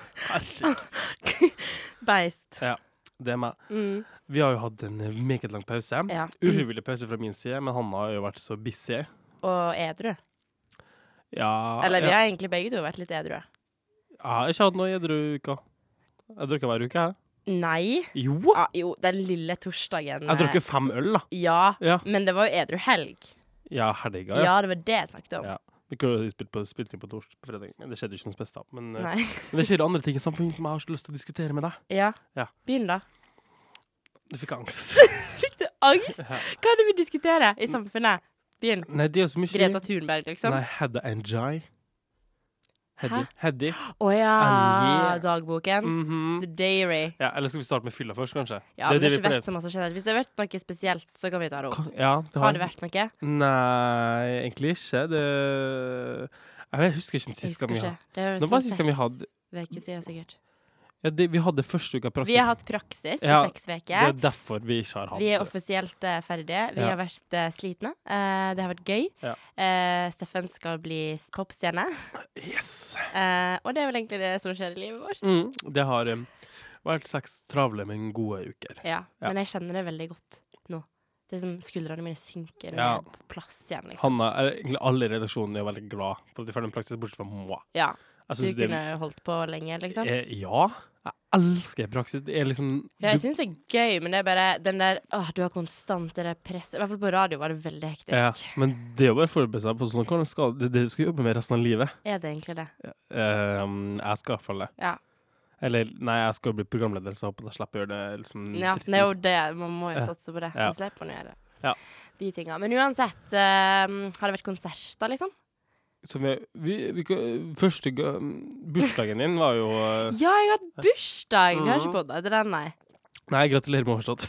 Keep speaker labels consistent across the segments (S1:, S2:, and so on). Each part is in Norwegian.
S1: Herregud.
S2: beist.
S1: Det er meg.
S2: Mm.
S1: Vi har jo hatt en eh, meget lang pause.
S2: Ja.
S1: Ufrivillig pause fra min side, men Hanna har jo vært så busy.
S2: Og edru.
S1: Ja,
S2: Eller vi
S1: ja.
S2: har egentlig begge to vært litt edru.
S1: Jeg har ikke hatt noe edru uka. Jeg drukker hver uke, jeg.
S2: Nei.
S1: Jo!
S2: Ja, jo, den lille torsdagen eh,
S1: Jeg drukker fem øl, da.
S2: Ja,
S1: Ja,
S2: men det var jo edru helg.
S1: ja helga, ja.
S2: Ja, det var det jeg snakket om.
S1: Ja. Vi kunne spilt, på, spilt inn på torsdag på fredag, men det skjedde jo ikke noe spesielt. Men, eh,
S2: Nei.
S1: men det skjer andre ting i samfunnet som jeg har så lyst til å diskutere med deg.
S2: Ja.
S1: Ja.
S2: Begynn, da.
S1: Du fikk angst.
S2: Fikk du angst?
S1: Ja.
S2: Hva er det vi diskuterer i samfunnet? Begynn.
S1: Nei, det er jo så mye
S2: Greta Thunberg, liksom.
S1: Nei, Hedda and Jai. Heddy.
S2: Hæ?
S1: Heddy.
S2: Å ja.
S1: Angie.
S2: Dagboken.
S1: Mhm.
S2: The Dairy.
S1: ja, eller skal vi starte med fylla først, kanskje?
S2: Ja,
S1: er
S2: men det har
S1: vi
S2: ikke
S1: pleier-
S2: vært så masse generelt. Hvis det har vært noe spesielt, så kan vi ta det opp.
S1: Ka- Ja, det har,
S2: Har det vært noe?
S1: Nei, egentlig ikke. Det Jeg vet- jeg husker ikke den
S2: Jeg
S1: siste
S2: husker
S1: gangen vi
S2: ikke.
S1: hadde
S2: Det er
S1: Nå var det
S2: sånn
S1: sist gang vi
S2: seks
S1: hadde-
S2: Veker siden, sikkert.
S1: ja, det, Vi hadde første uka praksis.
S2: Vi har hatt praksis i
S1: Ja,
S2: seks
S1: Det er
S2: uker.
S1: derfor vi ikke har hatt
S2: Vi er offisielt eh, ferdige. Vi
S1: Ja.
S2: har vært eh, slitne. Eh, det har vært gøy.
S1: Ja.
S2: Eh, Steffen skal bli popstjerne.
S1: Yes!
S2: Eh, og det er vel egentlig det som skjer i livet vårt.
S1: Mm, det har um, vært seks travle, men gode uker.
S2: Ja,
S1: Ja.
S2: Men jeg kjenner det veldig godt nå. Det er som skuldrene mine synker
S1: Ja.
S2: ned på plass igjen. Liksom.
S1: Hanna, eller egentlig alle i redaksjonen er veldig glad for at vi får den praksis, bortsett fra moi.
S2: Ja,
S1: Jeg
S2: Du
S1: synes det
S2: kunne holdt på lenge, liksom.
S1: Eh, ja. Jeg elsker praksis. Det er liksom
S2: Ja, jeg
S1: du-
S2: syns det er gøy, men det er bare den der åh, du har konstant det der presset. I hvert fall på radio var det veldig hektisk.
S1: ja, Men det er jo bare å forberede seg på sånn hvordan skal, det, det du skal jobbe med resten av livet.
S2: Er det egentlig det?
S1: Eh, jeg skal i hvert fall det.
S2: Ja.
S1: Eller nei, jeg skal bli programleder, så jeg håper jeg slipper å gjøre det. Liksom,
S2: ja
S1: dritten.
S2: det er jo det. Man må jo
S1: Ja.
S2: satse på det.
S1: Ja.
S2: Man slipper å gjøre
S1: Ja.
S2: de tinga. Men uansett, eh, har det vært konserter, liksom?
S1: Så vi, vi, vi, kan- første ga- Bursdagen din var jo eh,
S2: Ja, jeg har hatt bursdag! Vi har
S1: Mm.
S2: ikke podda etter den, nei.
S1: Nei, gratulerer med overstått.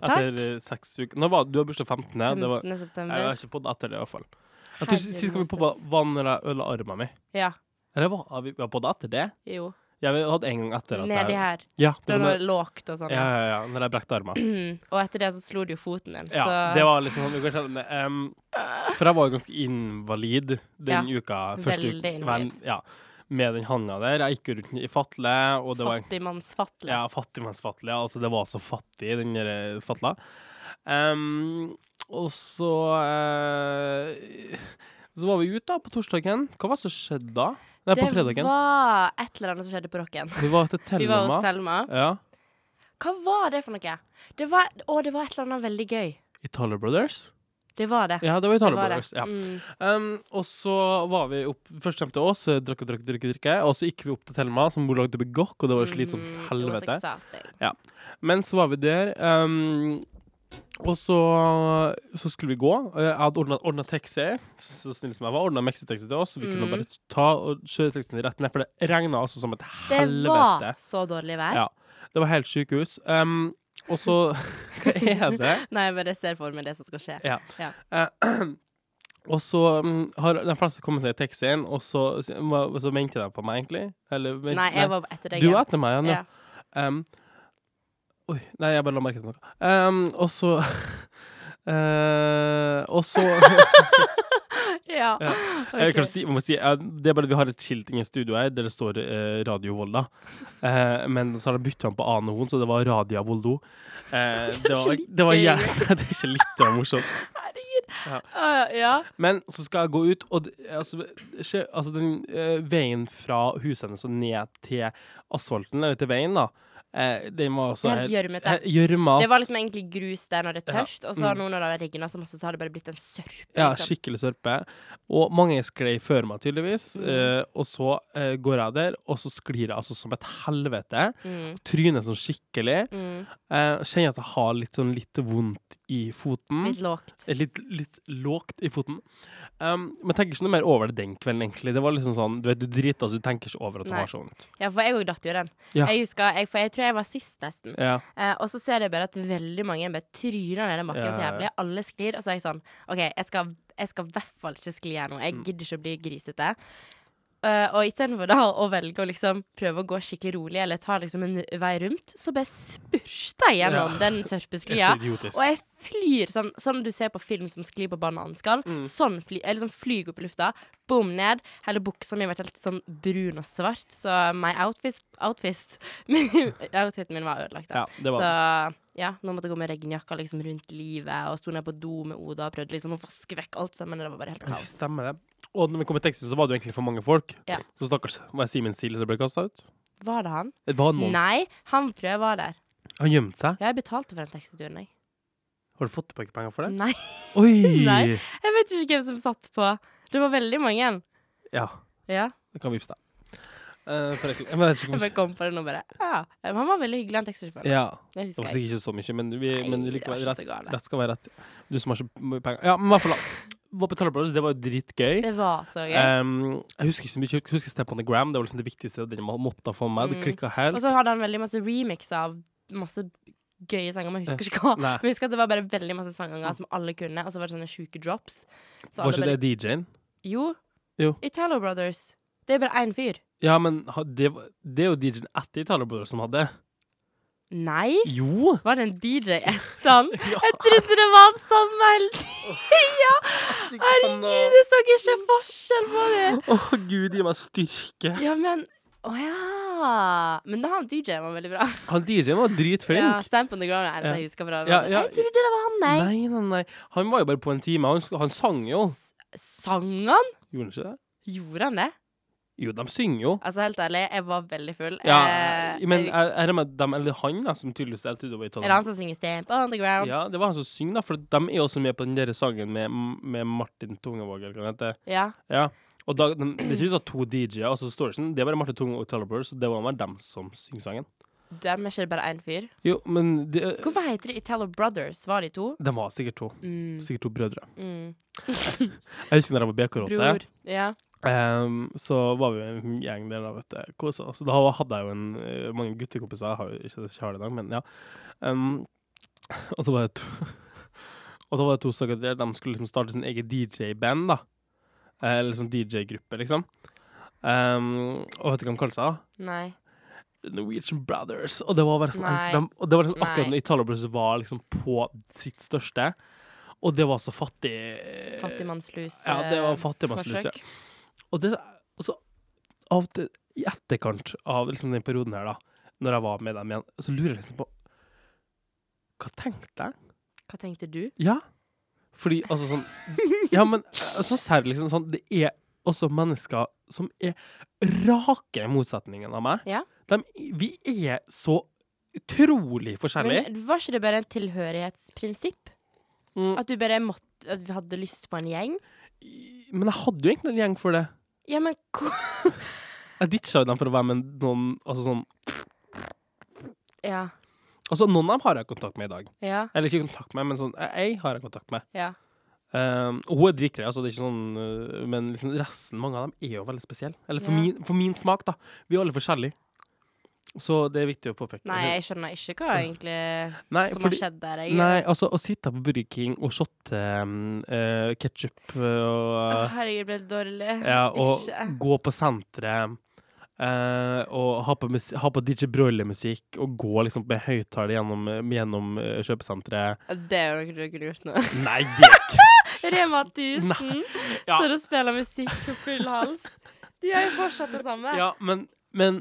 S1: Etter eh, seks uker Nå var, Du har bursdag 15. Ja. Det var,
S2: 15.
S1: nei, jeg
S2: september.
S1: har ikke podda etter det, i hvert fall. Jeg tror
S2: Herre
S1: Sist sist gang vi
S2: Moses.
S1: podda, var når jeg ødela armen min.
S2: Ja.
S1: Eller var har vi har podda etter det?
S2: Jo.
S1: Jeg hadde en gang etter at
S2: Nedi
S1: jeg
S2: her.
S1: Ja, det
S2: Det
S1: var
S2: var
S1: når,
S2: noe lågt og sånn.
S1: ja, ja, ja, når jeg brekte armen.
S2: Og etter det så slo du jo foten din.
S1: Ja,
S2: så
S1: det var liksom sånn, vi kan kjenne det. Em, For jeg var jo ganske invalid den uka. Første
S2: veldig
S1: uka,
S2: invalid.
S1: ven- ja, med den handa der. Jeg gikk jo rundt i fatle, og det var
S2: fattigmannsfatle.
S1: ja, fattigmannsfatle. Altså, det var så fattig, den der eh, fatla. Em, og så eh, Så var vi ute da på torsdagen. Hva var det som skjedde da? Nei, på
S2: Det
S1: fredagen.
S2: var et eller annet som skjedde på rocken.
S1: Vi var til
S2: Vi var hos
S1: Thelma.
S2: Thelma.
S1: Ja.
S2: Hva var det for noe? Det var, å, det var et eller annet veldig gøy.
S1: Italia Brothers.
S2: Det var det.
S1: Ja, det var
S2: Det
S1: Italia
S2: var
S1: Brothers. Ja.
S2: Mm.
S1: Um, og så var vi opp Først hjem til oss, eh, drakk og drakk, drakk, drakk, og så gikk vi opp til Thelma, som bor lagd på Gokk, og det var jo slitsomt
S2: Mhm. It was
S1: helvete.
S2: exhausting.
S1: Men så var vi der, um, og så, så skulle vi gå. Eh, Jeg hadde ordna taxi, så snill som jeg var, ordna mexitaxi til oss, så vi kunne
S2: Mm.
S1: bare ta og kjøre taxien rett ned, for det regna altså som et
S2: Det
S1: helvete.
S2: var så dårlig vær.
S1: Ja. Det var helt sjukehus. Um, og så Hva er det?
S2: Nei, jeg bare ser for meg det som skal skje.
S1: Ja. Og så mm, har de fleste kommet seg i taxien, og så, så mente de på meg, egentlig. Eller, men-
S2: Nei, jeg var etter deg.
S1: Du
S2: igjen.
S1: var etter meg, Janne.
S2: ja.
S1: Um, oi, nei, jeg bare la merke til noe. Um, og så eh, Og så jeg,
S2: Ja.
S1: Ja.
S2: Ok.
S1: kan si, jeg må si, eh, Det er bare at vi har et skilt inne i studio her der det står eh, Radio Volda. Eh, men så har de bytta den på annen horn, så det var Radia Voldo. Eh, det, var,
S2: ikke
S1: det, var,
S2: litt
S1: jæv- det er ikke litt morsomt.
S2: Herregud.
S1: Ja.
S2: Ah, ja.
S1: Men så skal jeg gå ut, og d- altså, skje, altså den eh, veien fra huset hennes og ned til asfalten, eller til veien, da, eh, den var
S2: Det
S1: også
S2: er helt gjørmete.
S1: eh, gjørma.
S2: Det var liksom egentlig grus der når det er
S1: Ja.
S2: tørst, og så
S1: Mm.
S2: nå når det har regnet så masse, så har det bare blitt en sørp.
S1: Ja,
S2: liksom.
S1: skikkelig sørpe. Og mange sklei før meg, tydeligvis.
S2: Mm.
S1: Eh, og så eh, går jeg der, og så sklir jeg altså som et helvete.
S2: Mm.
S1: Trynet sånn skikkelig.
S2: Mm.
S1: Eh, kjenner at jeg har litt sånn litt vondt i foten.
S2: Litt lågt.
S1: Eh, Litt, litt, litt lågt i foten. Um, men tenker ikke noe mer over det den kvelden, egentlig. Det var liksom sånn, Du vet, du driter, så du tenker ikke over at du
S2: Nei.
S1: har så vondt.
S2: Ja, for jeg òg datt jo i den.
S1: Ja.
S2: Jeg husker, jeg, for jeg tror jeg var sist, nesten.
S1: Ja.
S2: Eh, og så ser jeg bare at veldig mange bare tryner ned den bakken
S1: Ja, ja,
S2: så
S1: ja.
S2: jævlig. Alle sklir. Og så er jeg sånn OK, jeg skal jeg skal i hvert fall ikke skli her nå.
S1: Mm.
S2: Jeg gidder ikke å bli grisete. Eh, og istedenfor da å velge å liksom prøve å gå skikkelig rolig eller ta liksom en vei rundt, så bare spurter jeg gjennom den
S1: Det er
S2: sørpesklia.
S1: så idiotisk.
S2: Og jeg flyr sånn, sånn du ser på film som sklir på bananskall.
S1: Mm.
S2: Sånn fly, jeg liksom flyr opp i lufta, bom ned. Hele buksa mi ble helt sånn brun og svart, så my outfit, outfit Outfiten min var ødelagt. Da.
S1: Ja, det var
S2: så ja, nå måtte jeg gå med regnjakka liksom rundt livet og sto ned på do med Oda og prøvde liksom å vaske vekk alt sammen. men Det var bare helt
S1: Ja,
S2: kaos.
S1: Stemmer det. Og når vi kom i Texas, så var det jo egentlig for mange folk.
S2: Ja.
S1: Så stakkars var det Simen Steele som ble kasta ut.
S2: Var det han?
S1: Det var noen.
S2: Nei, han tror jeg var der.
S1: Han gjemte seg.
S2: Jeg betalte for den taxituren, jeg.
S1: Har du fått tilbake penger for det?
S2: Nei,
S1: Oi!
S2: Nei. jeg vet ikke hvem som satt på. Det var veldig mange.
S1: Ja,
S2: Ja.
S1: det kan vippse deg. Eh, for jeg, men jeg vet ikke
S2: Jeg bare
S1: hvor-
S2: kom på det nå, bare. Ja. Men Han var veldig hyggelig, han taxisjåføren.
S1: ja,
S2: Det
S1: det var
S2: husker jeg.
S1: sikkert ikke så mye, men, vi, men
S2: Nei,
S1: likevel
S2: det var ikke
S1: rett,
S2: så galt.
S1: rett skal være rett. Du som har så mye penger. Ja, men i hvert fall da. Var på Tollerplass, det var jo dritgøy.
S2: Det var så gøy.
S1: Eh, Em, jeg husker ikke så mye, jeg husker Step on the Gram, det var liksom det viktigste, og den man måtte få med meg. Det
S2: Mm.
S1: klikket
S2: og
S1: helt.
S2: så hadde han veldig masse remix av masse gøye sanger, men jeg husker ikke hva.
S1: Nei.
S2: Men jeg husker at det var bare veldig masse sanger som alle kunne, og så var det sånne sjuke drops. Så
S1: Var
S2: alle
S1: ikke
S2: bare,
S1: det DJ-en?
S2: Jo.
S1: Jo.
S2: Italo Brothers. Det er bare én fyr.
S1: Ja, men ha- det, var- det er jo DJ-en etter Tollerplass som hadde.
S2: Nei?
S1: Jo!
S2: Var det en DJ etter han?
S1: Ja.
S2: Jeg trodde det var sånn han samme hele tiden! Ja! Herregud, jeg så ikke forskjell på det!
S1: Å, gud, gi meg styrke.
S2: Ja, men Å ja. Men da han DJ-en var veldig bra.
S1: Han DJ-en var
S2: Ja,
S1: dritflink.
S2: Stamp on the ground er det eneste jeg husker fra.
S1: Ja, ja.
S2: Jeg trodde det var han, nei.
S1: Nei, nei, nei. Han var jo bare på en time. Han, sk- han sang jo.
S2: Sang han?
S1: Gjorde han ikke det?
S2: Gjorde han det?
S1: Jo, de synger jo.
S2: Altså, helt ærlig, jeg var veldig full.
S1: Ja,
S2: Eh,
S1: men
S2: jeg,
S1: jeg, jeg regner med dem, eller han da, som tydeligvis delte utover i
S2: er det han
S1: Tollerplass.
S2: som synger 'Stamp on the ground'? Ja.
S1: Ja, det var han som synger, da, for de er jo også med på den der sangen med, med Martin Tungevåg, eller hva han heter. Ja. Og da, de, det er ikke sånn to DJ-er, og så står det ikke sånn. Det er bare Martin Tungevåg og Tollerplass, så det var bare dem som synger sangen.
S2: Dem er ikke det bare én fyr.
S1: Jo, men de,
S2: Hvorfor heter de Italo Brothers? Var de to?
S1: de var sikkert to.
S2: Mm,
S1: Sikkert to brødre.
S2: mm.
S1: Jeg husker når jeg var BK-råte.
S2: Bror. Ja.
S1: Ehm, så var vi en gjeng der, da, vet du. Kosa oss. Da hadde jeg jo en, eh, mange guttekompiser. Jeg har jo ikke, ikke har det i dag, men ja. Ehm, og så var det to Og da var det to stykker der. De skulle liksom starte sin egen DJ-band, da. Eh, Eller sånn DJ-gruppe, liksom. Ehm, og vet du hva de kalte seg? da?
S2: Nei.
S1: The Norwegian Brothers. Og det var bare sånn,
S2: Nei.
S1: de, og det var liksom akkurat
S2: Nei.
S1: når Italia Brothers var liksom på sitt største. Og det var så fattig eh,
S2: Fattigmannslus.
S1: Ja, det var
S2: eh,
S1: fattigmannslus, ja.
S2: forsøk.
S1: Og det altså, av det, I etterkant av liksom, den perioden her, da, når jeg var med dem igjen, så lurer jeg liksom på Hva tenkte jeg?
S2: Hva tenkte du?
S1: Ja. Fordi altså sånn Ja, men eh, så særlig liksom sånn Det er også mennesker som er rake motsetningen av meg.
S2: Ja.
S1: Dem- vi er så utrolig forskjellige.
S2: Men var ikke det bare en tilhørighetsprinsipp?
S1: Mm.
S2: At du bare måtte At vi hadde lyst på en gjeng?
S1: Men jeg hadde jo egentlig en gjeng for det.
S2: Ja, men hvor
S1: Jeg ditcha jo dem for å være med noen Altså sånn
S2: Ja.
S1: Altså, noen av dem har jeg kontakt med i dag.
S2: Ja.
S1: Eller ikke kontakt med, men sånn Jeg har jeg kontakt med.
S2: Ja.
S1: Um, og hun er dritgrei, altså. Det er ikke sånn uh, Men liksom resten, mange av dem, er jo veldig spesielle. Eller for,
S2: Ja.
S1: min, for min smak, da. Vi er alle forskjellige. Så det er viktig å påpeke.
S2: Nei, jeg skjønner ikke hva egentlig
S1: Nei,
S2: som
S1: fordi-
S2: har skjedd der. Jeg,
S1: Nei, altså, å sitte på Burger King og shotte um, uh, ketsjup og
S2: Å,
S1: uh,
S2: herregud, jeg ble helt dårlig.
S1: ja, Og
S2: Ikke.
S1: gå på senteret eh, og ha på, musi- ha på DJ Broiler-musikk og gå liksom med høyttaler gjennom, gjennom eh, kjøpesenteret.
S2: Det er jo noe du kunne gjort nå.
S1: Nei, det er ikke
S2: Rema 1000
S1: Ja.
S2: står og spiller musikk på full hals. De gjør jo fortsatt det samme.
S1: Ja, men, men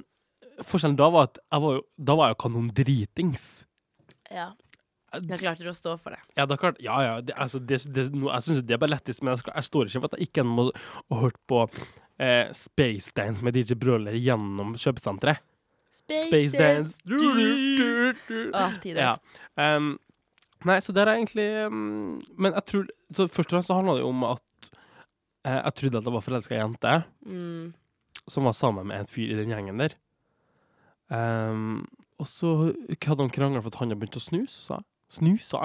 S1: forskjellen da var at jeg var jo, da var jeg jo kanondritings.
S2: Ja. Da klarte du å stå for det.
S1: Ja, da klart. Ja, ja. Det, altså, det, det, no, jeg syns jo det er bare lettest, men jeg, skal, jeg står ikke for at jeg ikke må ha hørt på eh, Space Dance med DJ Broiler gjennom kjøpesenteret. Space Dance! Du, du, du, du.
S2: Å, tider.
S1: Ja. Ehm, nei, så der er egentlig ehm, Men jeg tror så Først og fremst så handla det jo om at eh, jeg trodde at det var forelska i ei jente
S2: Mm.
S1: som var sammen med en fyr i den gjengen der. Ehm, og så hadde han krangla for at han hadde begynt å snuse, sa jeg. Snusa.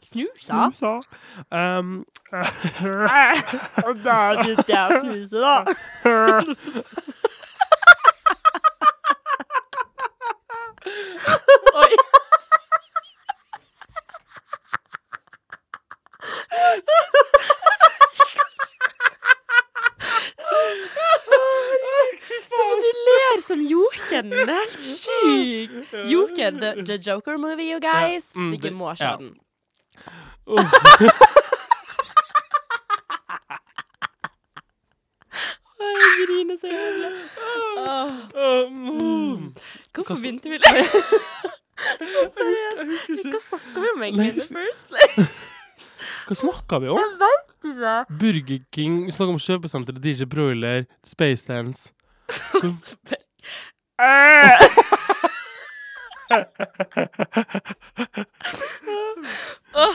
S2: Snusa?
S1: Snusa. Um,
S2: Og da er det der snuset, da. Oi. Se på du ler som Jokeren. Det er helt sjukt. Jokeren, the, the Joker movie, you guys.
S1: Ja, mm,
S2: Dere
S1: det-
S2: må se
S1: ja.
S2: den.
S1: Uff.
S2: Å, Jeg griner så jævlig. Åh.
S1: um,
S2: Hvorfor
S1: Hva så-
S2: begynte vi litt? Seriøst.
S1: jeg husker
S2: Hva
S1: ikke.
S2: snakka vi om egentlig in the
S1: Nei,
S2: first place?
S1: Hva snakka vi om?
S2: Jeg veit ikke.
S1: Burger King, vi snakka om kjøpesenter, DJ Broiler, Spacedance.
S2: Åh,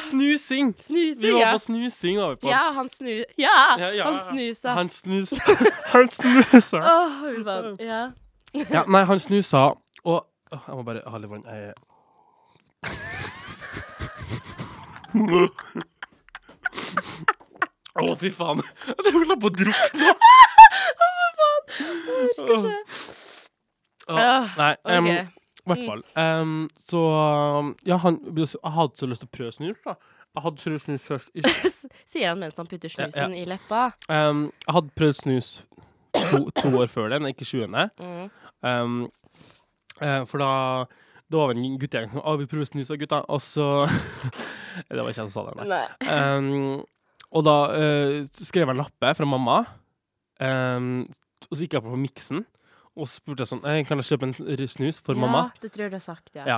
S1: Snusing! Vi
S2: Snusing,
S1: var
S2: ja.
S1: på snusing, var vi på.
S2: Ja, han snu... Ja,
S1: Ja, ja,
S2: han
S1: ja.
S2: snusa.
S1: Han snus... Han snusa.
S2: Åh, vi bare- ja.
S1: Ja, nei, han snusa, og Åh, Jeg må bare ha litt vann. Jeg... Å, fy faen. Jeg holdt på å drukne. Å, faen. Jeg
S2: Åh,
S1: Nei,
S2: OK.
S1: em, i hvert fall. Em, så Ja, han Jeg hadde så lyst til å prøve snus, da. Jeg hadde prøvd snus først. Ikke-
S2: S- Sier han mens han putter snusen i leppa.
S1: em, jeg hadde prøvd snus to, to år før den, ikke sjuende.
S2: Mm.
S1: Um, eh, for da Det var vel en guttegjeng som Å, vi prøver å snus av gutta, og så Det var ikke jeg som sa det, nei.
S2: Nei.
S1: Um, og da eh, skrev jeg en lappe fra mamma, um, og så gikk jeg på miksen. Og så spurte jeg sånn «Eh, Kan jeg kjøpe en r- snus for mamma?
S2: Ja, det tror jeg du har sagt,
S1: Ja.
S2: ja.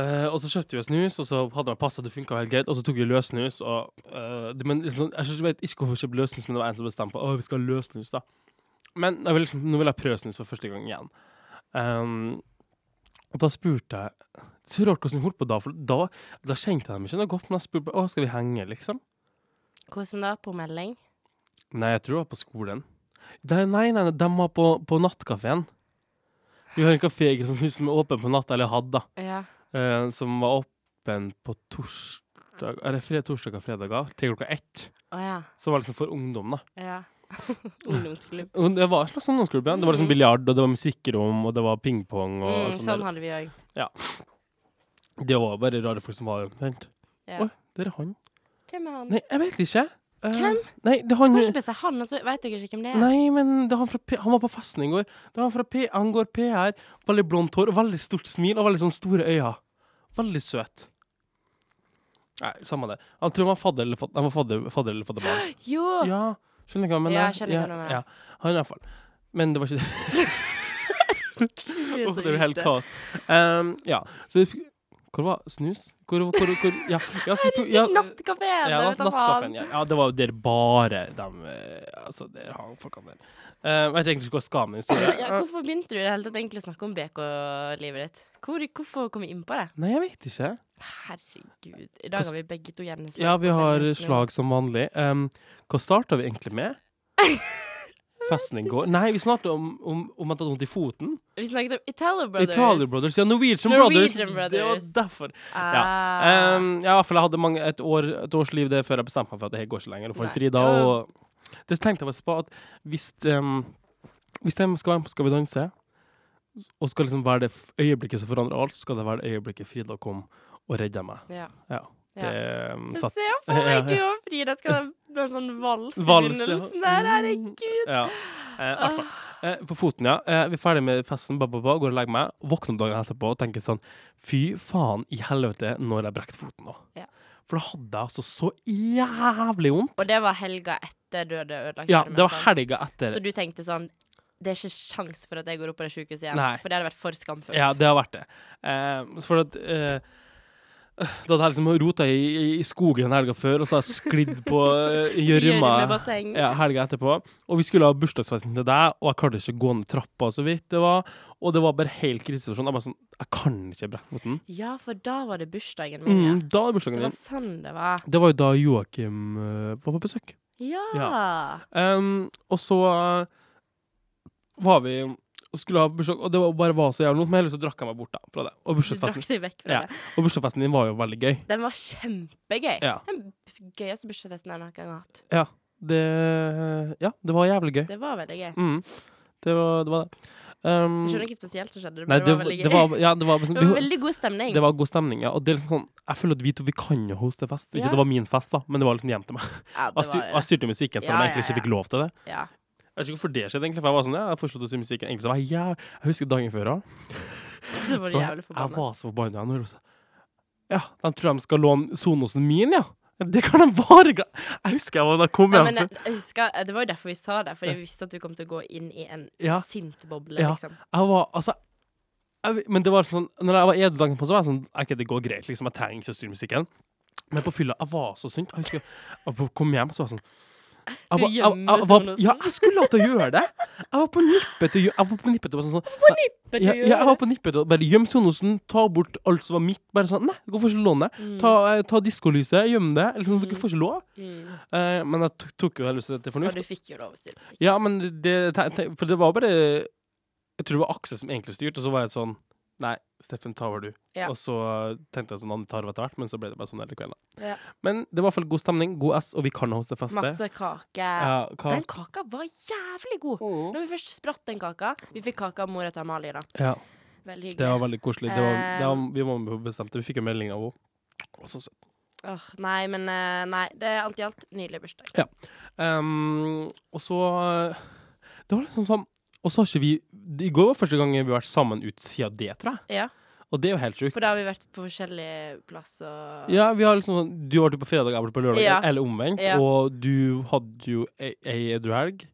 S1: Eh, og så kjøpte vi oss snus, og så hadde vi passa, det funka helt greit. Og så tok vi løssnus, og eh, det, men liksom, Jeg vet ikke hvorfor vi kjøpte løssnus, men det var en som bestemte på Å, vi skal ha løssnus, da. Men jeg vil liksom, nå vil jeg prøve snus for første gang igjen. Ehm, og da spurte jeg Så rart hvordan vi holdt på da, for da, da kjente jeg dem ikke noe godt, men jeg spurte bare, Å, skal vi henge, liksom.
S2: Hvordan da? På melding?
S1: Nei, jeg tror det var på skolen. Nei, nei, nei, de var på, på nattkafeen. Vi har en kafé ikke, som som er åpen på natta, eller hadde, da.
S2: Ja.
S1: Eh, som var åpen på torsdag Eller fred, torsdag og fredager til klokka ett.
S2: Å ja.
S1: Så det var liksom for ungdom, da.
S2: ja. Ungdomsklubb.
S1: Og det var en slags ungdomsklubb. Ja. Det var liksom
S2: Mm.
S1: biljard, og det var musikkrom, og det var pingpong og
S2: Mm,
S1: sånn.
S2: sånn
S1: der.
S2: hadde vi òg.
S1: Det var bare rare folk som var Vent,
S2: Ja.
S1: Oi. der er han.
S2: Hvem er han?
S1: Nei, jeg vet ikke. Eh,
S2: Hvem?
S1: Nei, det er han
S2: Kanskje bare si han, og så veit dere ikke hvem det er.
S1: Nei, men det er han, fra P han var på festen i går. Det er han fra P han går PR. Veldig blondt hår, veldig stort smil og veldig sånn store øyne. Veldig søt. Nei, samme det. Han tror han var fadder eller, fad han var fadder, fadder eller fadderbarn.
S2: Jo!
S1: Ja, skjønner ikke hva jeg mener.
S2: Ja, jeg skjønner hva du mener.
S1: Ja, han i hvert fall. Men det var ikke det.
S2: vi er
S1: Åh,
S2: så
S1: det var helt
S2: ute.
S1: kaos. Ehm, ja. Så, hvor var snus? Hvor, hvor, hvor Ja, ja, så, spu- ja
S2: Nattkafeen!
S1: ja,
S2: jeg
S1: natt,
S2: vet da faen.
S1: nattkaffen. Ja. ja, det var jo der bare de eh, Altså, der har folkene der. Eh, jeg vet egentlig ikke hva jeg skal med historien.
S2: Ja, hvorfor begynte du i det hele tatt egentlig å snakke om BK-livet ditt? Hvor, hvorfor kom vi inn på det?
S1: Nei, jeg vet ikke.
S2: Herregud. I dag har vi begge to hjerneslag.
S1: Ja, vi
S2: på
S1: har
S2: veldig-
S1: slag som vanlig. Em, hva starta vi egentlig med? Festen i går? Nei, vi snakket om, om, om at jeg hadde vondt i foten.
S2: Vi snakket om Italo Brothers.
S1: Italia Brothers. Ja, Norwegian,
S2: Norwegian
S1: Brothers. Det var
S2: Brothers.
S1: derfor.
S2: Ah.
S1: Um, ja, for jeg hadde mange, et, år, et års liv det før jeg bestemte meg for at det her går ikke lenger. Og får en
S2: Nei.
S1: fri da, og det tenkte jeg faktisk på at hvis, um, hvis de skal være med på Skal vi danse, og skal liksom være det f- øyeblikket som forandrer alt, skal det være det øyeblikket Frida kom og redda meg.
S2: ja.
S1: Ja. Det um,
S2: Jeg
S1: satt
S2: ser for meg
S1: Ja,
S2: du og Frida skal ha en sånn vals i
S1: Vals, ja. Mm.
S2: begynnelsen der. Herregud.
S1: Ja. Eh, i hvert fall.
S2: Ah.
S1: eh, på foten, ja. Eh, vi er ferdig med festen, ba, ba, ba, går og legger meg. Våkner dagen etterpå og tenker sånn Fy faen i helvete, når jeg brekte foten nå.
S2: Ja.
S1: For da hadde jeg altså så jævlig vondt.
S2: Og det var helga etter du hadde ødelagt
S1: Ja,
S2: armen,
S1: det var
S2: sant?
S1: helga etter.
S2: Så du tenkte sånn Det er ikke sjans for at jeg går opp på det sykehuset igjen.
S1: Nei.
S2: For det hadde vært for skamfullt.
S1: Ja, det har vært det. Eh, for at eh, Da hadde jeg liksom rota i, i, i skogen en helga før, og så har jeg sklidd på eh, gjørma
S2: Gjørmebasseng.
S1: ja, helga etterpå. Og vi skulle ha bursdagsfesten til deg, og jeg klarte ikke å gå ned trappa så vidt det var. Og det var bare helt krisesituasjon. Jeg bare sånn Jeg kan ikke brekke foten.
S2: Ja, for da var det bursdagen min.
S1: Mm,
S2: ja.
S1: da er bursdagen
S2: Det var
S1: din.
S2: sånn det var.
S1: Det var jo da Joakim eh, var på besøk.
S2: Ja.
S1: Ja. Um, og så eh, var vi og skulle ha bursdag, og det var bare var så jævlig vondt, men heldigvis så drakk jeg meg bort da, fra det. Og
S2: Du
S1: bursdagsfesten,
S2: trakk deg vekk fra
S1: Ja.
S2: det.
S1: og bursdagsfesten din var jo veldig gøy.
S2: Den var kjempegøy.
S1: Ja.
S2: Den gøyeste bursdagsfesten jeg noen gang har hatt.
S1: Ja, det, ja, det var jævlig gøy.
S2: Det var veldig gøy.
S1: Mm. Det, var, det var det. Um,
S2: Jeg skjønner ikke spesielt som skjedde,
S1: nei,
S2: men det var veldig gøy.
S1: det var, ja, det var,
S2: Det
S1: liksom-
S2: var
S1: vi-
S2: veldig god stemning.
S1: det var god stemning, ja. Og det er liksom sånn, jeg føler at vi to, vi kan jo hoste fest. Ikke
S2: Ja.
S1: det var min fest da, men det var liksom hjem til meg.
S2: ja,
S1: Jeg,
S2: det
S1: styr,
S2: var,
S1: jeg styrte musikken, selv om
S2: Ja,
S1: jeg egentlig
S2: ja,
S1: ikke fikk lov til det.
S2: ja.
S1: Jeg vet ikke hvorfor det skjedde egentlig, for jeg var sånn, ja, jeg foreslo til å styre musikken. Egentlig så var jeg, jæv- jeg husker dagen før da,
S2: Så
S1: Så
S2: var du
S1: jeg- Jeg
S2: jævlig forbanna.
S1: var så forbanna. jeg når jeg sa, Ja, de tror de skal låne Sonosen min, ja. Det kan de bare glemme. Jeg husker jeg var da jeg kom
S2: Ja,
S1: hjem.
S2: men
S1: Ja,
S2: jeg, jeg husker, eh, det var jo derfor vi sa det, fordi vi visste at du kom til å gå inn i en
S1: Ja.
S2: sint boble.
S1: Ja.
S2: Liksom.
S1: jeg var, altså, jeg, men det var sånn, når jeg var edru dagen på, så var jeg sånn OK, det går greit, liksom. Jeg trenger ikke å styre musikken. Men på fylla, jeg var så synd. Jeg husker jeg kom hjem, så var jeg sånn jeg var, jeg, jeg, jeg, var, ja, jeg skulle hatt å gjøre det! Jeg var på nippet til å gjø- jeg var på nippet til å bare sånn, sånn
S2: Men du
S1: ja, ja, jeg
S2: gjorde
S1: var på nippet til å bare gjemme Sonosen, ta bort alt som var mitt. Bare sånn Nei, hvorfor ikke låne?
S2: det. Mm,
S1: Ta, eh, ta diskolyset, gjem det. Eller sånn, dere får ikke lov.
S2: mm.
S1: Eh, men jeg tok, tok jo heldigvis det til
S2: Og
S1: fornuft.
S2: du fikk jo lov å styre musikk.
S1: Ja, men det te- te- For det var bare Jeg tror det var Aksel som egentlig styrte, og så var jeg sånn Nei, Steffen, ta over du.
S2: Ja.
S1: Og så tenkte jeg sånn han tar over etter hvert, men så ble det bare sånn hele kvelden. da.
S2: Ja.
S1: Men det var i hvert fall god stemning, god S, og vi kan hoste feste.
S2: Masse kake.
S1: Ja, Mm. hva?
S2: Den kaka var jævlig god. Når vi først spratt den kaka Vi fikk kaka av mora til Amalie, da.
S1: Ja, det
S2: Veldig hyggelig.
S1: var veldig koselig. Det var, det
S2: Eh.
S1: var, vi var med på å bestemme det. Vi fikk en melding av henne. Og så søt.
S2: Åh, nei, men eh, Nei. Det er alt i alt nydelig bursdag.
S1: Ehm, og så Det var liksom sånn Og så har ikke vi I går var første gang vi har vært sammen ut siden det, tror jeg.
S2: Ja.
S1: Og det er jo helt sjukt.
S2: For da har vi vært på forskjellige plasser og
S1: Ja, vi har liksom sånn Du har vært på fredag, jeg har vært på lørdag,
S2: Ja.
S1: eller omvendt.
S2: Ja.
S1: Og du hadde jo ei ei edruhelg.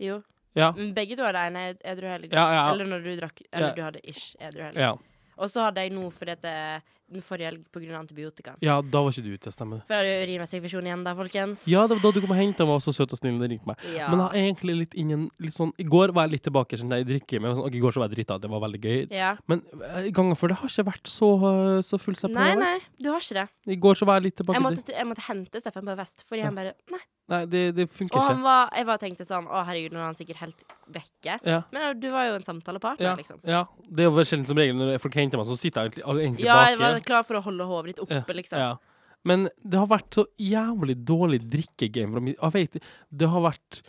S2: Jo.
S1: Ja.
S2: Men begge to hadde en ed- edru helg.
S1: Ja, ja.
S2: Eller når du drakk Eller
S1: Ja.
S2: du hadde ish edru helg.
S1: Ja.
S2: Og så hadde jeg nå fordi at det- den forrige helg på grunn av antibiotikaen.
S1: ja, da var ikke du ute, stemmer det.
S2: For jeg hadde jo urinveisinfeksjon igjen da, folkens.
S1: Ja, det var da du kom og hentet meg, og var så søt og snill og ringte meg.
S2: Ja.
S1: Men jeg er egentlig litt innen litt sånn I går var jeg litt tilbake sånn, jeg drikker, men sånn, ok, i går så var jeg drita, det var veldig gøy.
S2: ja.
S1: Men eh, gangen før det har ikke vært så, eh, så full
S2: Nei,
S1: separering.
S2: nei, du har ikke det.
S1: I går så var jeg litt tilbake
S2: Jeg måtte, jeg måtte hente Steffen på vest, fordi han bare Nei.
S1: Nei, det, det
S2: Og
S1: funker
S2: han
S1: ikke.
S2: var, jeg var tenkte sånn Å, herregud, nå er han sikkert helt vekke.
S1: Ja.
S2: Men du var jo en samtalepartner,
S1: Ja,
S2: liksom.
S1: ja. Det er jo sjelden som regel når folk henter meg, så sitter jeg egentlig, egentlig
S2: Ja, jeg
S1: baki.
S2: var klar for å holde hodet ditt oppe, liksom.
S1: Ja. Men det har vært så jævlig dårlig drikkegame fra min Jeg vet ikke. Det har vært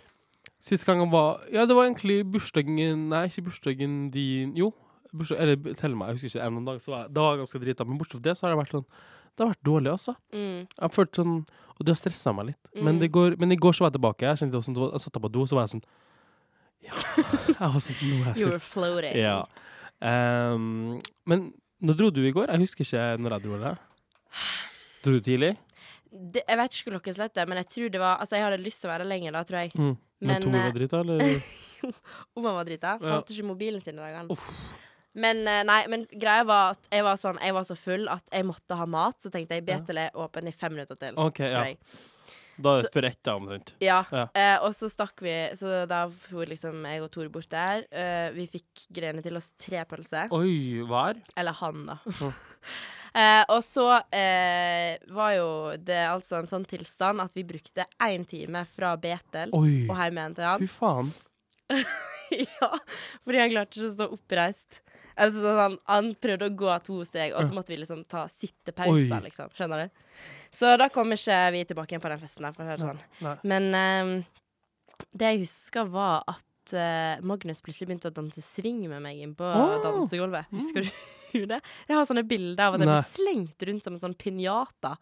S1: Siste gangen var Ja, det var egentlig bursdagen Nei, ikke bursdagen din Jo. Bursdag, eller tell meg, jeg husker ikke. En annen dag så var jeg, da var jeg ganske drita. Men bortsett fra det, så har det vært sånn Det har vært dårlig, altså.
S2: Mm.
S1: Jeg har følt sånn Og det har stressa meg litt. Men,
S2: Mm.
S1: det går, men i går så var jeg tilbake. Jeg, kjente det var sånn, det var- jeg satt jeg på do, så var jeg sånn Ja. Jeg var sånn Nå er jeg
S2: You were
S1: full.
S2: floating.
S1: Ja. Ehm, men nå dro du i går. Jeg husker ikke når jeg dro eller Dro du tidlig?
S2: Det, jeg vet ikke hvor klokkeslett det er, men jeg tror det var Altså, jeg hadde lyst til å være lenger da, tror jeg.
S1: Mm.
S2: Men,
S1: Men Tor var
S2: eh,
S1: drita, eller?
S2: Om han var drita. Han
S1: Ja.
S2: Holdt ikke mobilen sin i dag. han.
S1: Uff.
S2: Men eh, nei, men greia var at jeg var sånn Jeg var så full at jeg måtte ha mat. Så tenkte jeg Betel er åpen i fem minutter til.
S1: OK,
S2: tror
S1: ja.
S2: jeg.
S1: Da er det før ett, da, omtrent.
S2: Ja.
S1: Ja.
S2: Eh, og så stakk vi, så da for liksom jeg og Tore bort der. Eh, vi fikk greiene til oss tre pølser.
S1: Oi, hver?
S2: Eller han, da.
S1: Mm.
S2: eh, og så eh, var jo det altså en sånn tilstand at vi brukte én time fra Betel
S1: Oi.
S2: og hjem igjen til han.
S1: Fy faen.
S2: ja, fordi han klarte ikke å stå oppreist. Altså, sånn, han, han prøvde å gå to steg, og så måtte vi liksom ta sittepauser,
S1: Oi.
S2: liksom. Skjønner du? Så da kom ikke vi tilbake igjen på den festen der, for å si det sånn.
S1: Nei.
S2: Men ehm, det jeg husker, var at eh, Magnus plutselig begynte å danse swing med meg inn på
S1: Åh!
S2: dansegulvet. Husker du det? Jeg har sånne bilder av at jeg
S1: Nei.
S2: ble slengt rundt som en sånn pinjata.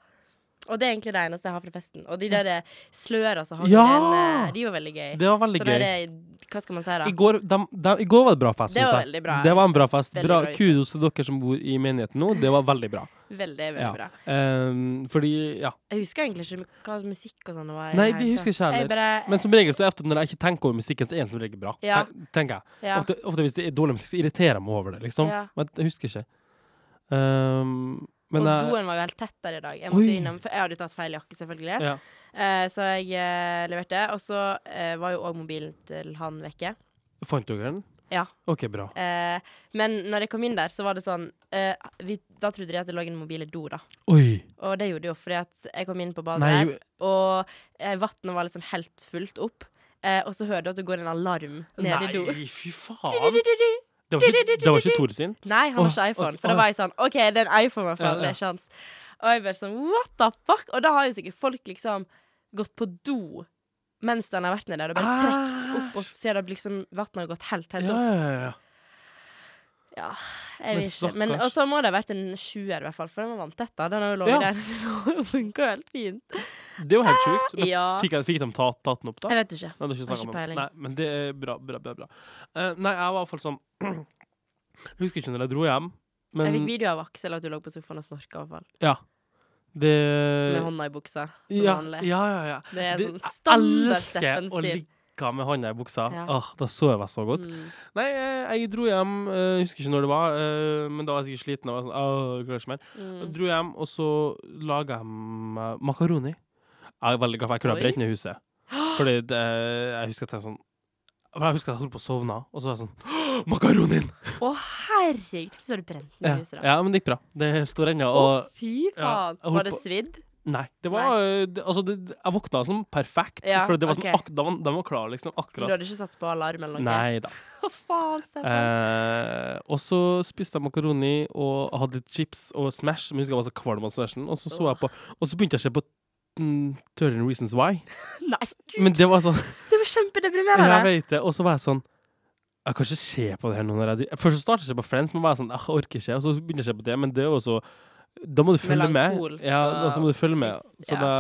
S2: Og det er egentlig det eneste jeg har fra festen. Og de der eh, sløra som hang i
S1: Ja!
S2: den, eh, de var veldig gøy.
S1: Det var veldig
S2: Så
S1: gøy.
S2: det er det Hva skal man si, da?
S1: I går, dem- dem- I går var det bra fest.
S2: Det
S1: synes
S2: var
S1: jeg.
S2: veldig bra.
S1: Det var en bra
S2: Jeg synes
S1: fest.
S2: veldig
S1: Bra.
S2: bra
S1: Kudos til dere som bor i menigheten nå. Det var veldig bra.
S2: Veldig, veldig
S1: Ja.
S2: bra.
S1: Ehm, fordi, ja.
S2: Jeg husker egentlig ikke hva musikk og sånn det var. i
S1: Nei,
S2: hele
S1: det husker jeg
S2: tatt.
S1: ikke
S2: Jeg bare-
S1: Men som regel så er det ofte når jeg ikke tenker over musikken, så er den som regel bra.
S2: Ja.
S1: Ten- Tenker jeg.
S2: ja.
S1: Ofte, ofte hvis det er dårlig musikk, så irriterer jeg meg over det, liksom.
S2: Ja.
S1: Men jeg husker ikke. Ehm, men
S2: og
S1: jeg-
S2: doen var jo helt tett der i dag. Jeg, måtte
S1: Oi.
S2: innom, for jeg hadde jo tatt feil jakke, selvfølgelig.
S1: Ja.
S2: Eh, så jeg eh, leverte. Og så eh, var jo òg mobilen til han vekke.
S1: Fant dere den?
S2: Ja.
S1: OK, bra.
S2: Eh, men når jeg kom inn der, så var det sånn eh, vi, Da trodde de at det lå en mobil i do, da.
S1: Oi.
S2: Og det gjorde de jo fordi at jeg kom inn på badet
S1: Nei,
S2: der, og eh, vannet var liksom helt fullt opp. Eh, og så hører du at det går en alarm nede i do.
S1: Nei, fy faen. Det var ikke, det var ikke Tore sin?
S2: Nei, han har
S1: Åh,
S2: ikke iPhone.
S1: ok,
S2: For da
S1: åh.
S2: var jeg sånn OK, det er en iPhone, i hvert
S1: Ja,
S2: fall.
S1: ja.
S2: Det er ikke hans. Og jeg bare sånn What the fuck? Og da har jo sikkert folk liksom gått på do mens den har vært nede der, og bare trukket opp, og så har det liksom vannet har gått helt, helt
S1: Ja,
S2: opp.
S1: ja, ja.
S2: Ja,
S1: Men
S2: jeg vet ikke. Men,
S1: stakkars.
S2: og så må det ha vært en sjuer, i hvert fall, for den var vanntett, da. Den har
S1: Ja.
S2: jo ligget der. Den funka jo helt fint.
S1: Det er jo helt sjukt. Men
S2: Ah, Ja.
S1: fikk, jeg- fikk de ta, tatt den opp, da?
S2: Jeg vet ikke.
S1: Nei, det er ikke
S2: Har
S1: snakket om
S2: ikke
S1: det.
S2: peiling.
S1: Nei, men det er bra, bra, bra. bra. Eh, nei, jeg var i hvert fall sånn Jeg husker ikke når jeg dro hjem,
S2: Jeg fikk
S1: men
S2: video av Aksel at du lå på sofaen og snorka, i hvert fall.
S1: ja. Det
S2: Med hånda i buksa, som
S1: Eh, ja, ja,
S2: vanlig.
S1: ja, ja.
S2: Det er
S1: Det-
S2: sånn
S1: Jeg
S2: standard
S1: elsker å
S2: Steffen-stil.
S1: ligge med hånda i buksa.
S2: Ja.
S1: Åh, da sover jeg så godt.
S2: Mm.
S1: Nei, eh, jeg dro hjem, eh, jeg husker ikke når det var, eh, men da var jeg sikkert sliten. Og var sånn, Åh, jeg klarer ikke mer.
S2: Mm.
S1: Jeg dro hjem, og så laga jeg meg makaroni. Jeg er veldig glad for jeg kunne ha
S2: Oi.
S1: brent ned huset. Fordi det, jeg husker at jeg sånn for Jeg husker at jeg holdt på å sovne, og så var jeg sånn «Åh, Makaronien!
S2: Å, herregud, så har du brent
S1: Ja,
S2: ned huset, da.
S1: ja, men det gikk bra. Det står ennå.
S2: Å,
S1: Og
S2: fy faen.
S1: jeg holdt
S2: var det
S1: på-
S2: svidd?
S1: nei, det var eh, det- Altså, det, jeg våkna som perfekt.
S2: Ja,
S1: for det var sånn
S2: ok.
S1: ak, da var, den var klar, liksom.
S2: Du
S1: Akkurat.
S2: hadde ikke satt på alarm eller noe?
S1: Nei da.
S2: Hva faen, Steffen?
S1: Eh, og så spiste jeg makaroni og hadde litt chips og Smash, som jeg husker jeg var så kvalm av Smashen. Og så så jeg på Og så begynte jeg å se på mm, 13 Reasons Why.
S2: Nei, gud,
S1: Men det var sånn
S2: det var kjempedeprimerende.
S1: Jeg vet det. Og så var jeg sånn Jeg kan ikke se på det her nå når jeg driver Først så startet jeg på Friends, men var jeg sånn Jeg orker ikke. Og så begynner jeg å se på det, men det er jo så Da må du følge med.
S2: Melankolsk
S1: Ja,
S2: og
S1: altså må du følge med.
S2: trist,
S1: Så
S2: ja.
S1: da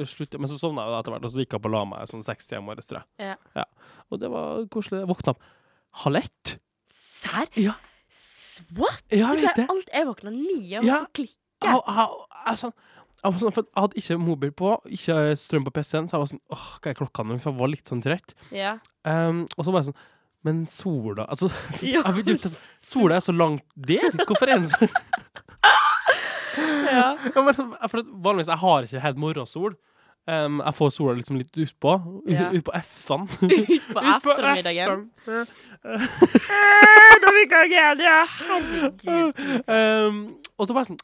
S1: eh, sluttet jeg. Men så sovna jeg jo etter hvert, og så gikk jeg opp og la meg sånn seks timer morges, tror jeg.
S2: Ja.
S1: Og det var koselig. Jeg våkna opp halv ett.
S2: Serr?
S1: Ja.
S2: S- What?
S1: Ja,
S2: Det
S1: jeg vet
S2: ble
S1: det.
S2: alt jeg våkna ni og
S1: Ja.
S2: ja. klikk.
S1: Jeg, jeg, jeg, sånn, jeg var sånn, for jeg hadde ikke mobil på, ikke strøm på PC-en, så jeg var sånn åh, hva er klokka nå? For jeg var litt sånn trøtt.
S2: Ja.
S1: Ehm, og så var jeg sånn Men sola Altså,
S2: Ja.
S1: jeg vet ikke, sola er så langt der! Hvorfor er den så
S2: ja.
S1: Ja, men så- for at vanligvis jeg har ikke helt morgensol. Ehm, jeg får sola liksom litt utpå.
S2: Ja.
S1: Utpå F-ene.
S2: Ut på
S1: Utpå
S2: ettermiddagen.
S1: F-ene.
S2: Da fikk jeg igjen, ja. Herregud. Lisa.
S1: Ehm, og så bare sånn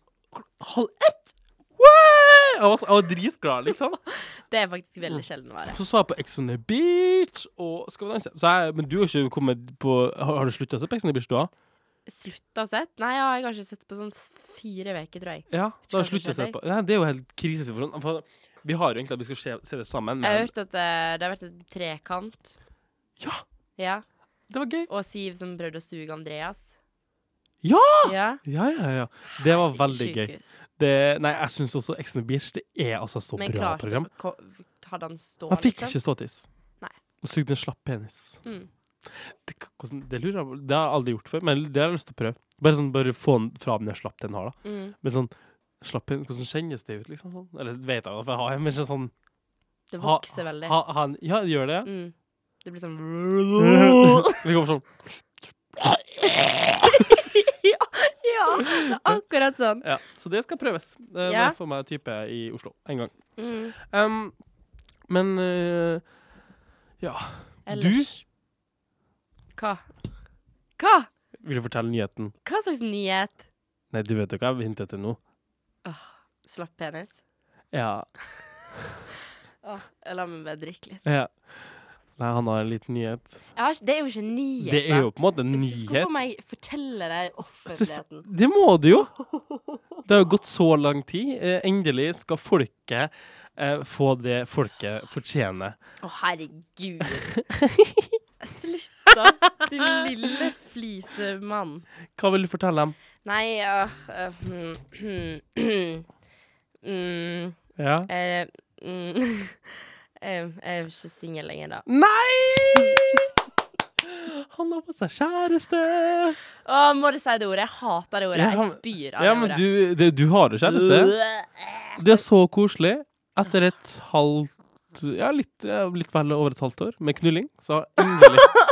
S1: Halv ett? Wow! Jeg var, så- jeg var dritglad, liksom.
S2: Sånn. Det er faktisk veldig sjelden å være.
S1: Så så jeg på Ex on the Beach og Skal vi danse. Så jeg, men du har ikke kommet på Har, har du slutta å se på Ex on the Beach, du òg?
S2: Slutta å sett? Nei, ja, jeg har ikke sett på sånn fire uker, tror jeg.
S1: Ja, så har jeg
S2: Vet ikke
S1: sluttet å se
S2: hva som skjer
S1: på. Nei, det er jo helt krisesituasjon. For vi har jo egentlig at vi skal se, se det sammen,
S2: Jeg har
S1: men
S2: hørt at eh, det har vært en trekant.
S1: Ja!
S2: Ja.
S1: Det var gøy.
S2: Og Siv som prøvde å suge Andreas.
S1: Ja!
S2: ja.
S1: Ja, ja, ja. Det var veldig gøy.
S2: Sykehus.
S1: Det, nei, jeg syns også Ex on the Beach det er altså så
S2: Men
S1: bra
S2: klarte
S1: program.
S2: ko- Hadde han stå,
S1: Han fikk ikke ståtiss.
S2: Nei.
S1: Og sugde en slapp penis.
S2: liksom? Mm.
S1: Det, k- hvordan, det lurer jeg på. Det har jeg aldri gjort før, men det har jeg lyst til å prøve. Bare sånn, bare få den fra den jeg slapp den har, da.
S2: Mm.
S1: Men sånn, slapp penis, hvordan kjennes det ut, liksom? Sånn? Eller vet jeg da, for jeg har en, men ikke sånn
S2: Det
S1: ha-
S2: vokser veldig.
S1: Ha, ha, en- ja, det gjør det?
S2: Mm. Det blir sånn
S1: Vi går for sånn.
S2: Ja, det er akkurat sånn.
S1: Ja, så det skal prøves. Det må
S2: Ja.
S1: jeg få meg type i Oslo en gang.
S2: Mm.
S1: Em, men eh,
S2: Ellers Hva? Hva?
S1: vil du fortelle nyheten?
S2: Hva slags nyhet?
S1: Nei, du vet jo hva jeg hintet til nå.
S2: Slapp penis?
S1: Ja,
S2: Åh, la meg bare drikke litt.
S1: Ja. Nei, han har en liten nyhet.
S2: Jeg har, ikke- det er jo ikke en nyhet.
S1: Det er jo
S2: da.
S1: på en måte en nyhet.
S2: Hvorfor må jeg fortelle det i offentligheten?
S1: Det må du jo! Det har jo gått så lang tid. Eh, Endelig skal folket eh, få det folket fortjener.
S2: Å, herregud. Slutt, da. Din lille flisemann.
S1: Hva vil du fortelle dem?
S2: Nei, ja øh, hmm, hmm, mm,
S1: Ja.
S2: eh, mm, eh, Jeg er jo ikke singel lenger, da.
S1: Nei! Han har på seg kjæreste!
S2: Å, må du si det ordet? Jeg hater det ordet.
S1: Ja,
S2: Jeg
S1: men-
S2: spyr av
S1: Ja, men
S2: det ordet.
S1: du, det, du har jo kjæreste. Det er så koselig. Etter et halvt Ja, litt, ja, litt vel over et halvt år med knulling, så endelig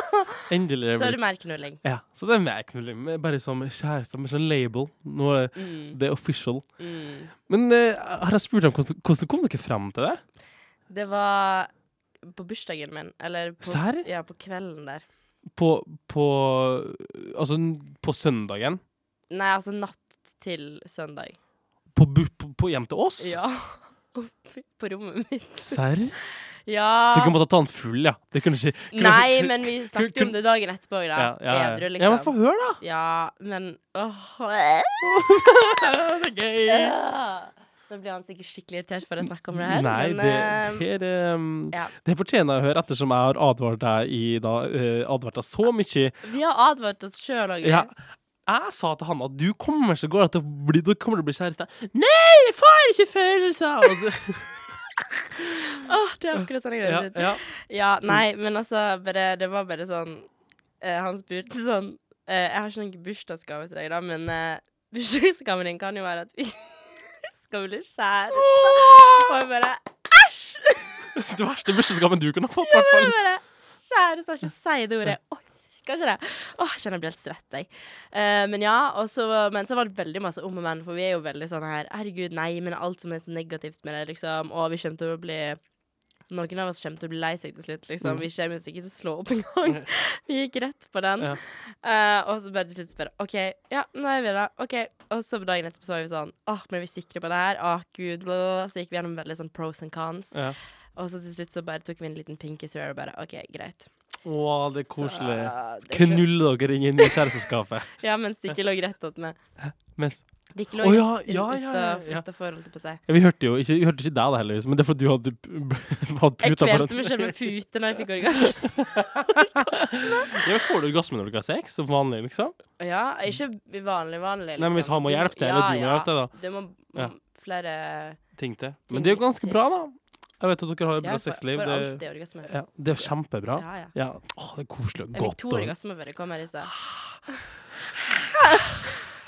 S1: Endelig
S2: Så
S1: blir
S2: er det mer knulling.
S1: Ja, så det er meg knulling. men Bare som kjæreste, med sånn label. Nå er det-
S2: Mm,
S1: det er official.
S2: mm.
S1: Men eh, har jeg spurt om hvordan, hvordan kom dere frem til det?
S2: Det var på bursdagen min. Eller på,
S1: Serr?
S2: ja, på kvelden der.
S1: På, på Altså, n- på søndagen?
S2: Nei, altså natt til søndag.
S1: På, bu- på, på hjem til oss?
S2: Ja. Oppe På rommet mitt.
S1: Serr?
S2: Ja.
S1: Du kunne måtte ta den full, ja. Det kunne ikke kunne,
S2: Nei,
S1: kunne-
S2: men vi snakket jo
S1: kun-
S2: om det dagen etterpå, da.
S1: ja, ja, ja.
S2: Edru,
S1: Ja, men få
S2: liksom.
S1: høre, da!
S2: Ja, men åh, øh.
S1: Det er gøy!
S2: Da blir han sikkert skikkelig irritert for å snakke om det her.
S1: Nei,
S2: men,
S1: det,
S2: eh,
S1: det, er, ehm,
S2: ja.
S1: det fortjener jeg å høre, ettersom jeg har advart deg i da, eh, advart deg så mye.
S2: Vi har advart oss sjøl òg.
S1: Ja, jeg sa til Hanna du kommer til å gå til å bli, du kommer til å bli kjæreste. Nei, jeg får ikke følelser! Og det-
S2: det er akkurat sånn jeg
S1: Ja,
S2: gjør det.
S1: ja.
S2: Ja, nei, men altså bare, Det var bare sånn eh, Han spurte sånn eh, Jeg har ikke noen bursdagsgave til deg, da, men eh, bursdagsgaven din kan jo være at vi skal bli kjærester. Og jeg bare
S1: Det verste bursdagsgaven du kunne ha fått, i hvert fall.
S2: Jeg bare Kjæreste, ikke si det ordet. Oi, Kanskje det. Åh, jeg kjenner jeg blir helt svett, jeg. Eh, men ja, og så- men så var det veldig masse om og men, for vi er jo veldig sånn her Herregud, nei, men alt som er så negativt med det, liksom. Og vi kommer til å bli Noen av oss kommer til å bli lei seg til slutt, liksom.
S1: Mm.
S2: Vi kommer jo sikkert til å slå opp en gang. Vi gikk rett på den.
S1: Ja.
S2: Eh, og så bare til slutt spørre OK, ja, nå er vi der. OK. Og så på dagen etterpå så var vi sånn Åh, men er vi sikre på det her? Åh, gud, bla, bla, bla. Så gikk vi gjennom veldig sånn pros and cons.
S1: Ja.
S2: Og så til slutt så bare tok vi en liten pinky swear og bare OK, greit.
S1: Å, det er
S2: Så, ah,
S1: koselig.
S2: det er ikke-
S1: Knull dere inn i kjæresteskapet.
S2: Ja, mens de ikke lå rett opp med.
S1: Mens
S2: De ikke lå
S1: Å, ja,
S2: rett
S1: ja, ja, ja, ja.
S2: utafor, holdt jeg på å si.
S1: Ja, vi hørte jo ikke, vi hørte ikke deg da, heldigvis, men det er fordi du hadde, hadde
S2: Jeg
S1: puta
S2: kvelte meg selv med pute når jeg fikk orgasme.
S1: Ja, men får du orgasme når du ikke har sex? Som vanlig, liksom?
S2: Ja, ikke vanlig, vanlig. Liksom.
S1: Nei, men hvis han må
S2: Du
S1: hjelpe til, eller du må hjelpe til, da.
S2: Det må
S1: Ja.
S2: flere
S1: Ting til. Men det er jo ganske bra, da. Jeg vet at dere har et bra
S2: Ja, for, for
S1: sexliv.
S2: alt
S1: Det,
S2: er orgasme.
S1: ja, det er jo kjempebra.
S2: Ja, ja.
S1: Ja. Å, det er koselig og
S2: Jeg fikk
S1: godt.
S2: to
S1: og-
S2: orgasmer før jeg kom her i sted.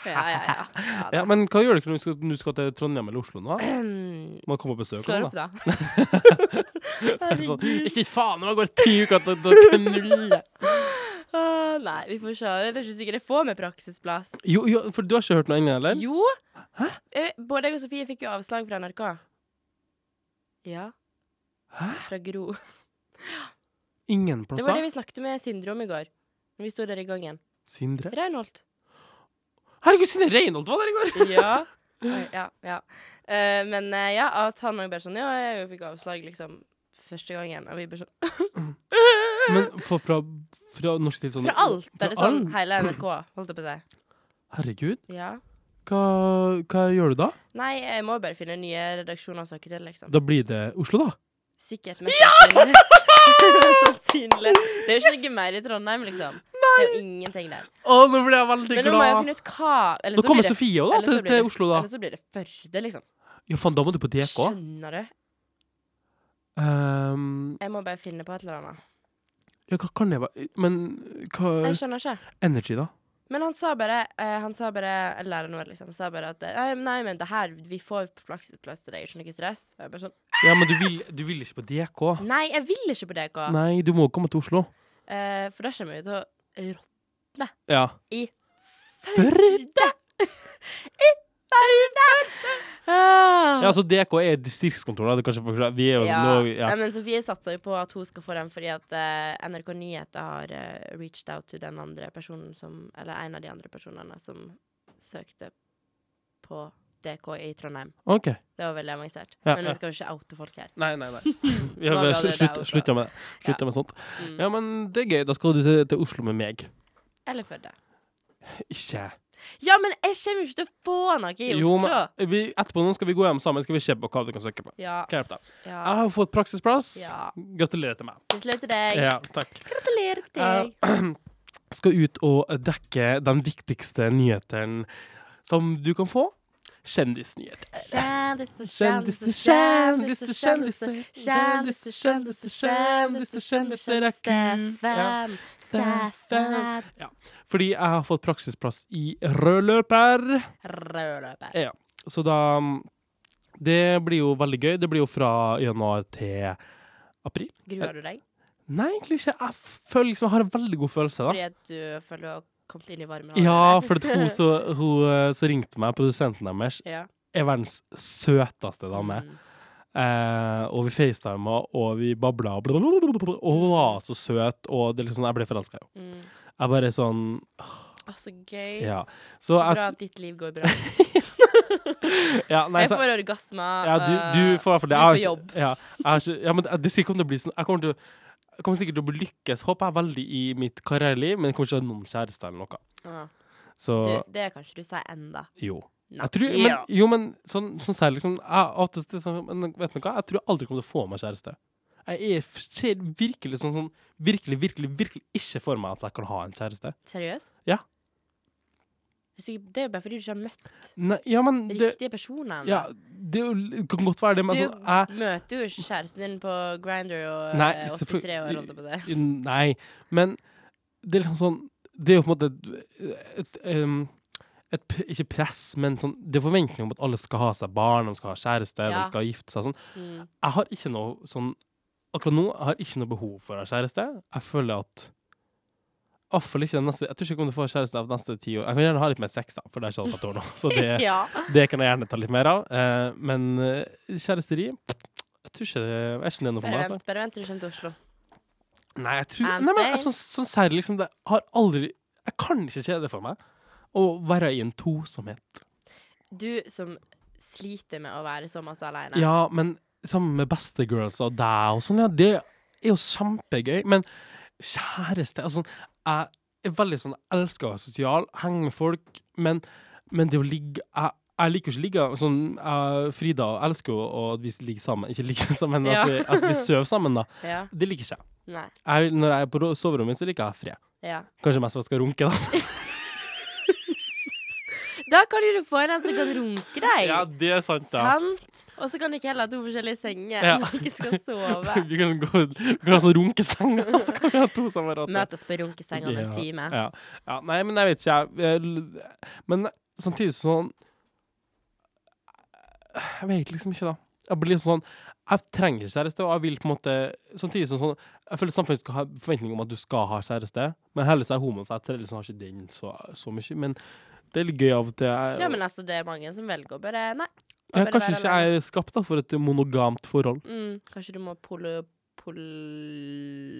S2: Ja, ja, ja. ja.
S1: Ja, men hva gjør dere når du skal, når du skal til Trondheim eller Oslo nå? da?
S2: Hmm,
S1: Må komme og besøke
S2: Slår
S1: noen,
S2: opp,
S1: da.
S2: da.
S1: Sånn, ikke faen om det går ti uker til til å knulle!
S2: Åh, Ah, nei, vi får se. Det er ikke sikkert jeg får meg praksisplass.
S1: Jo, jo, for du har ikke hørt noe ennå, eller?
S2: Jo. Eh, Både jeg og Sofie fikk jo avslag fra NRK. Ja.
S1: Hæ?
S2: Fra Gro.
S1: Ingen
S2: Det var det
S1: plasser?
S2: vi snakket med Sindre om i går. Når vi sto der i gangen.
S1: Sindre?
S2: Reinholt.
S1: Herregud, Sindre Reinholt var der i går!
S2: Ja. Oi, ja, ja. Eh, men eh, ja, at han òg bare sånn Ja, jeg fikk avslag, liksom. Første gangen. Og vi bare sånn
S1: Men for, fra, fra norsk til sånn
S2: Fra alt!
S1: fra
S2: Er det sånn
S1: alt?
S2: hele NRK, holdt jeg på å si.
S1: Herregud,
S2: Ja.
S1: hva, hva gjør du da?
S2: Nei, jeg må bare finne nye redaksjoner å snakke til, liksom.
S1: Da blir det Oslo, da.
S2: Sikkert. Men sannsynlig. sannsynlig. Det er jo ikke noe mer i Trondheim, liksom. Det er jo ingenting der.
S1: Å, nå ble jeg veldig
S2: Men nå må jeg finne ut hva eller
S1: Da
S2: så blir
S1: kommer
S2: det-
S1: Sofie òg, da,
S2: eller så
S1: til,
S2: blir
S1: til
S2: det-
S1: Oslo, da.
S2: Eller så blir det Førde, liksom.
S1: Ja, faen, da må du på DK.
S2: Skjønner du?
S1: Ehm,
S2: Jeg må bare finne på et eller annet.
S1: ja, hva kan det være Men hva
S2: Jeg skjønner ikke.
S1: Energy, da?
S2: Men han sa bare, eh, han sa bare eller læreren vår, liksom, sa bare at eh, nei, nei, men det her, vi får plaksisplass til deg, ikke noe stress. Og jeg bare sånn
S1: Ja, men du vil, du vil ikke på DK?
S2: Nei, jeg vil ikke på DK,
S1: Nei, du må komme til Oslo.
S2: Eh, for da kommer vi til å rotte
S1: Ja.
S2: i
S1: Førde!
S2: Ah.
S1: Ja, altså DK er distriktskontor, da. Det er kanskje forklart. Vi er jo
S2: Ja.
S1: nå ja.
S2: Nei, men Sofie satser jo på at hun skal få den fordi at eh, NRK Nyheter har eh, reached out til den andre personen som Eller en av de andre personene som søkte på DK i Trondheim.
S1: OK.
S2: Det var veldig avansert.
S1: Ja,
S2: men
S1: ja.
S2: vi skal jo ikke oute folk her.
S1: Nei, nei, nei. Vi
S2: Nå
S1: har
S2: ble
S1: slu-
S2: det
S1: slutt-
S2: der også.
S1: slutta med, slutta med sånt.
S2: Mm.
S1: Ja, men det er gøy. Da skal du til, til Oslo med meg.
S2: Eller Førde.
S1: Ikke
S2: Ja, men jeg kommer jo ikke til å få noe i Oslo!
S1: Jo, men vi, etterpå nå skal vi gå hjem sammen Skal vi se på hva du kan søke på.
S2: Ja.
S1: Skal jeg hjelpe deg?
S2: ja.
S1: Jeg har fått praksisplass.
S2: Ja.
S1: Gratulerer til meg.
S2: Gratulerer til deg.
S1: Ja, takk.
S2: Gratulerer til deg.
S1: Skal ut og dekke den viktigste nyheten som du kan få. Kjendisnyheter.
S2: Kjendiser,
S1: Kjendiser,
S2: kjendiser,
S1: kjendiser,
S2: kjendiser.
S1: kjendiser. Kjendiser, kjendiser, kjendiser, kjendiser er kul. Ja.
S2: Steffen, Steffen.
S1: Ja. Fordi jeg har fått praksisplass i rød løper.
S2: Rød løper.
S1: Ja. Så da Det blir jo veldig gøy. Det blir jo fra januar til april.
S2: Gruer du deg?
S1: Nei, egentlig ikke. Jeg føler liksom, jeg har en veldig god følelse, da.
S2: Fordi at du føler du har kommet inn i varmen?
S1: Ja,
S2: allerede?
S1: for at hun så, hun eh, så ringte meg, produsenten deres,
S2: ja.
S1: er verdens søteste dame.
S2: Mm.
S1: Eh, og vi facetima, og vi babla, og hun var så søt, og det er liksom, jeg ble forelska i henne.
S2: Mm.
S1: Jeg bare sånn
S2: Å, så gøy.
S1: Ja.
S2: Så
S1: Så
S2: bra
S1: jeg,
S2: at ditt liv går bra.
S1: Ja, nei,
S2: Jeg
S1: så,
S2: får Ah. orgasmer.
S1: ja, du, du får i hvert fall det.
S2: du
S1: Jeg har
S2: får
S1: ikke-
S2: jobb.
S1: Ja, jeg har ikke, ja, men det sikkert kommer til å bli sånn Jeg kommer, til, å- jeg kommer sikkert til å bli lykkes, håper jeg, veldig i mitt karriereliv, men jeg kommer ikke til å ha noen kjæreste eller noe.
S2: Ja.
S1: Så
S2: Ah. Du, det kan ikke du si enda.
S1: jo.
S2: Nei.
S1: Jeg tror, men, jo, men sånn, sånn særlig liksom, jeg, oftest, er det sånn, men, Vet du hva, jeg tror jeg aldri kommer til å få meg kjæreste. Jeg er f- ser virkelig sånn, sånn Virkelig, virkelig, virkelig ikke for meg at jeg kan ha en kjæreste.
S2: Seriøst?
S1: Ja.
S2: Hvis ikke- Det er jo bare fordi du ikke har møtt
S1: Nei, ja, men det,
S2: riktige personer. ennå.
S1: ja, det er jo- kan godt være det,
S2: du
S1: men sånn, jeg
S2: møter jo ikke kjæresten din på Grinder og
S1: Nei,
S2: eh,
S1: selvfølgelig-
S2: 83 år, holdt jeg på det.
S1: Nei, men det er liksom sånn Det er jo på en måte et, et, em, et, p- Ikke press, men sånn, det er forventning om at alle skal ha seg barn, de skal ha kjæreste,
S2: Ja.
S1: de skal gifte seg og sånn.
S2: Mm.
S1: Jeg har ikke noe sånn Akkurat nå jeg har ikke noe behov for å ha kjæreste. Jeg føler at i hvert fall ikke den neste, Jeg tror ikke jeg kommer til å få kjæreste de neste ti år. Jeg kan gjerne ha litt mer sex, da, for det er ikke alt jeg tåler nå. Så det,
S2: Ja.
S1: det kan jeg gjerne ta litt mer av. Eh, men eh, kjæresteri jeg tror ikke det, jeg er ikke det noe for meg.
S2: Bare
S1: altså.
S2: vent, bare vent til du kommer til Oslo.
S1: Nei, jeg tror
S2: I'm
S1: Nei, men jeg,
S2: safe.
S1: sånn, sånn særlig liksom det har aldri Jeg kan ikke se det for meg å være i en tosomhet.
S2: Du som sliter med å være så masse alene.
S1: Ja, men sammen med bestegirls og deg og sånn, ja, det er jo kjempegøy. Men kjæreste Altså, jeg er veldig sånn jeg elsker å være sosial, henge med folk, men, men det å ligge jeg, jeg liker jo ikke å ligge sånn jeg- Frida elsker jo at vi ligger sammen, ikke ligger sammen, men at,
S2: Ja.
S1: vi, at vi sover sammen, da.
S2: Ja.
S1: Det liker ikke jeg.
S2: Nei.
S1: jeg. Når jeg er på ro- soverommet mitt, så liker jeg fred.
S2: Ja.
S1: Kanskje mest for at jeg skal runke, da.
S2: Da kan jo du få en en som kan runke deg.
S1: Ja, det er sant, da.
S2: Sant? Og så kan du ikke heller ha to forskjellige senger
S1: Ja.
S2: når du ikke skal sove.
S1: Vi kan gå vi kan ha sånn runkeseng, og så kan vi ha to sammen. rad.
S2: Møt oss på runkesenga om en time.
S1: Ja. ja. Nei, men jeg vet ikke, jeg. jeg. Men samtidig sånn Jeg vet liksom ikke, da. Jeg blir liksom sånn Jeg trenger ikke kjæreste, og jeg vil på en måte Samtidig som sånn Jeg føler samfunnet skal ha forventning om at du skal ha kjæreste, men heller så er jeg homo, så jeg tre- liksom har ikke den så, så mye. Men det er litt gøy av og til. Jeg,
S2: Ja, men altså, det er mange som velger å bare Nei.
S1: jeg,
S2: bare
S1: kanskje
S2: være
S1: ikke jeg er skapt da, for et monogamt forhold.
S2: Mm, kanskje du må poly...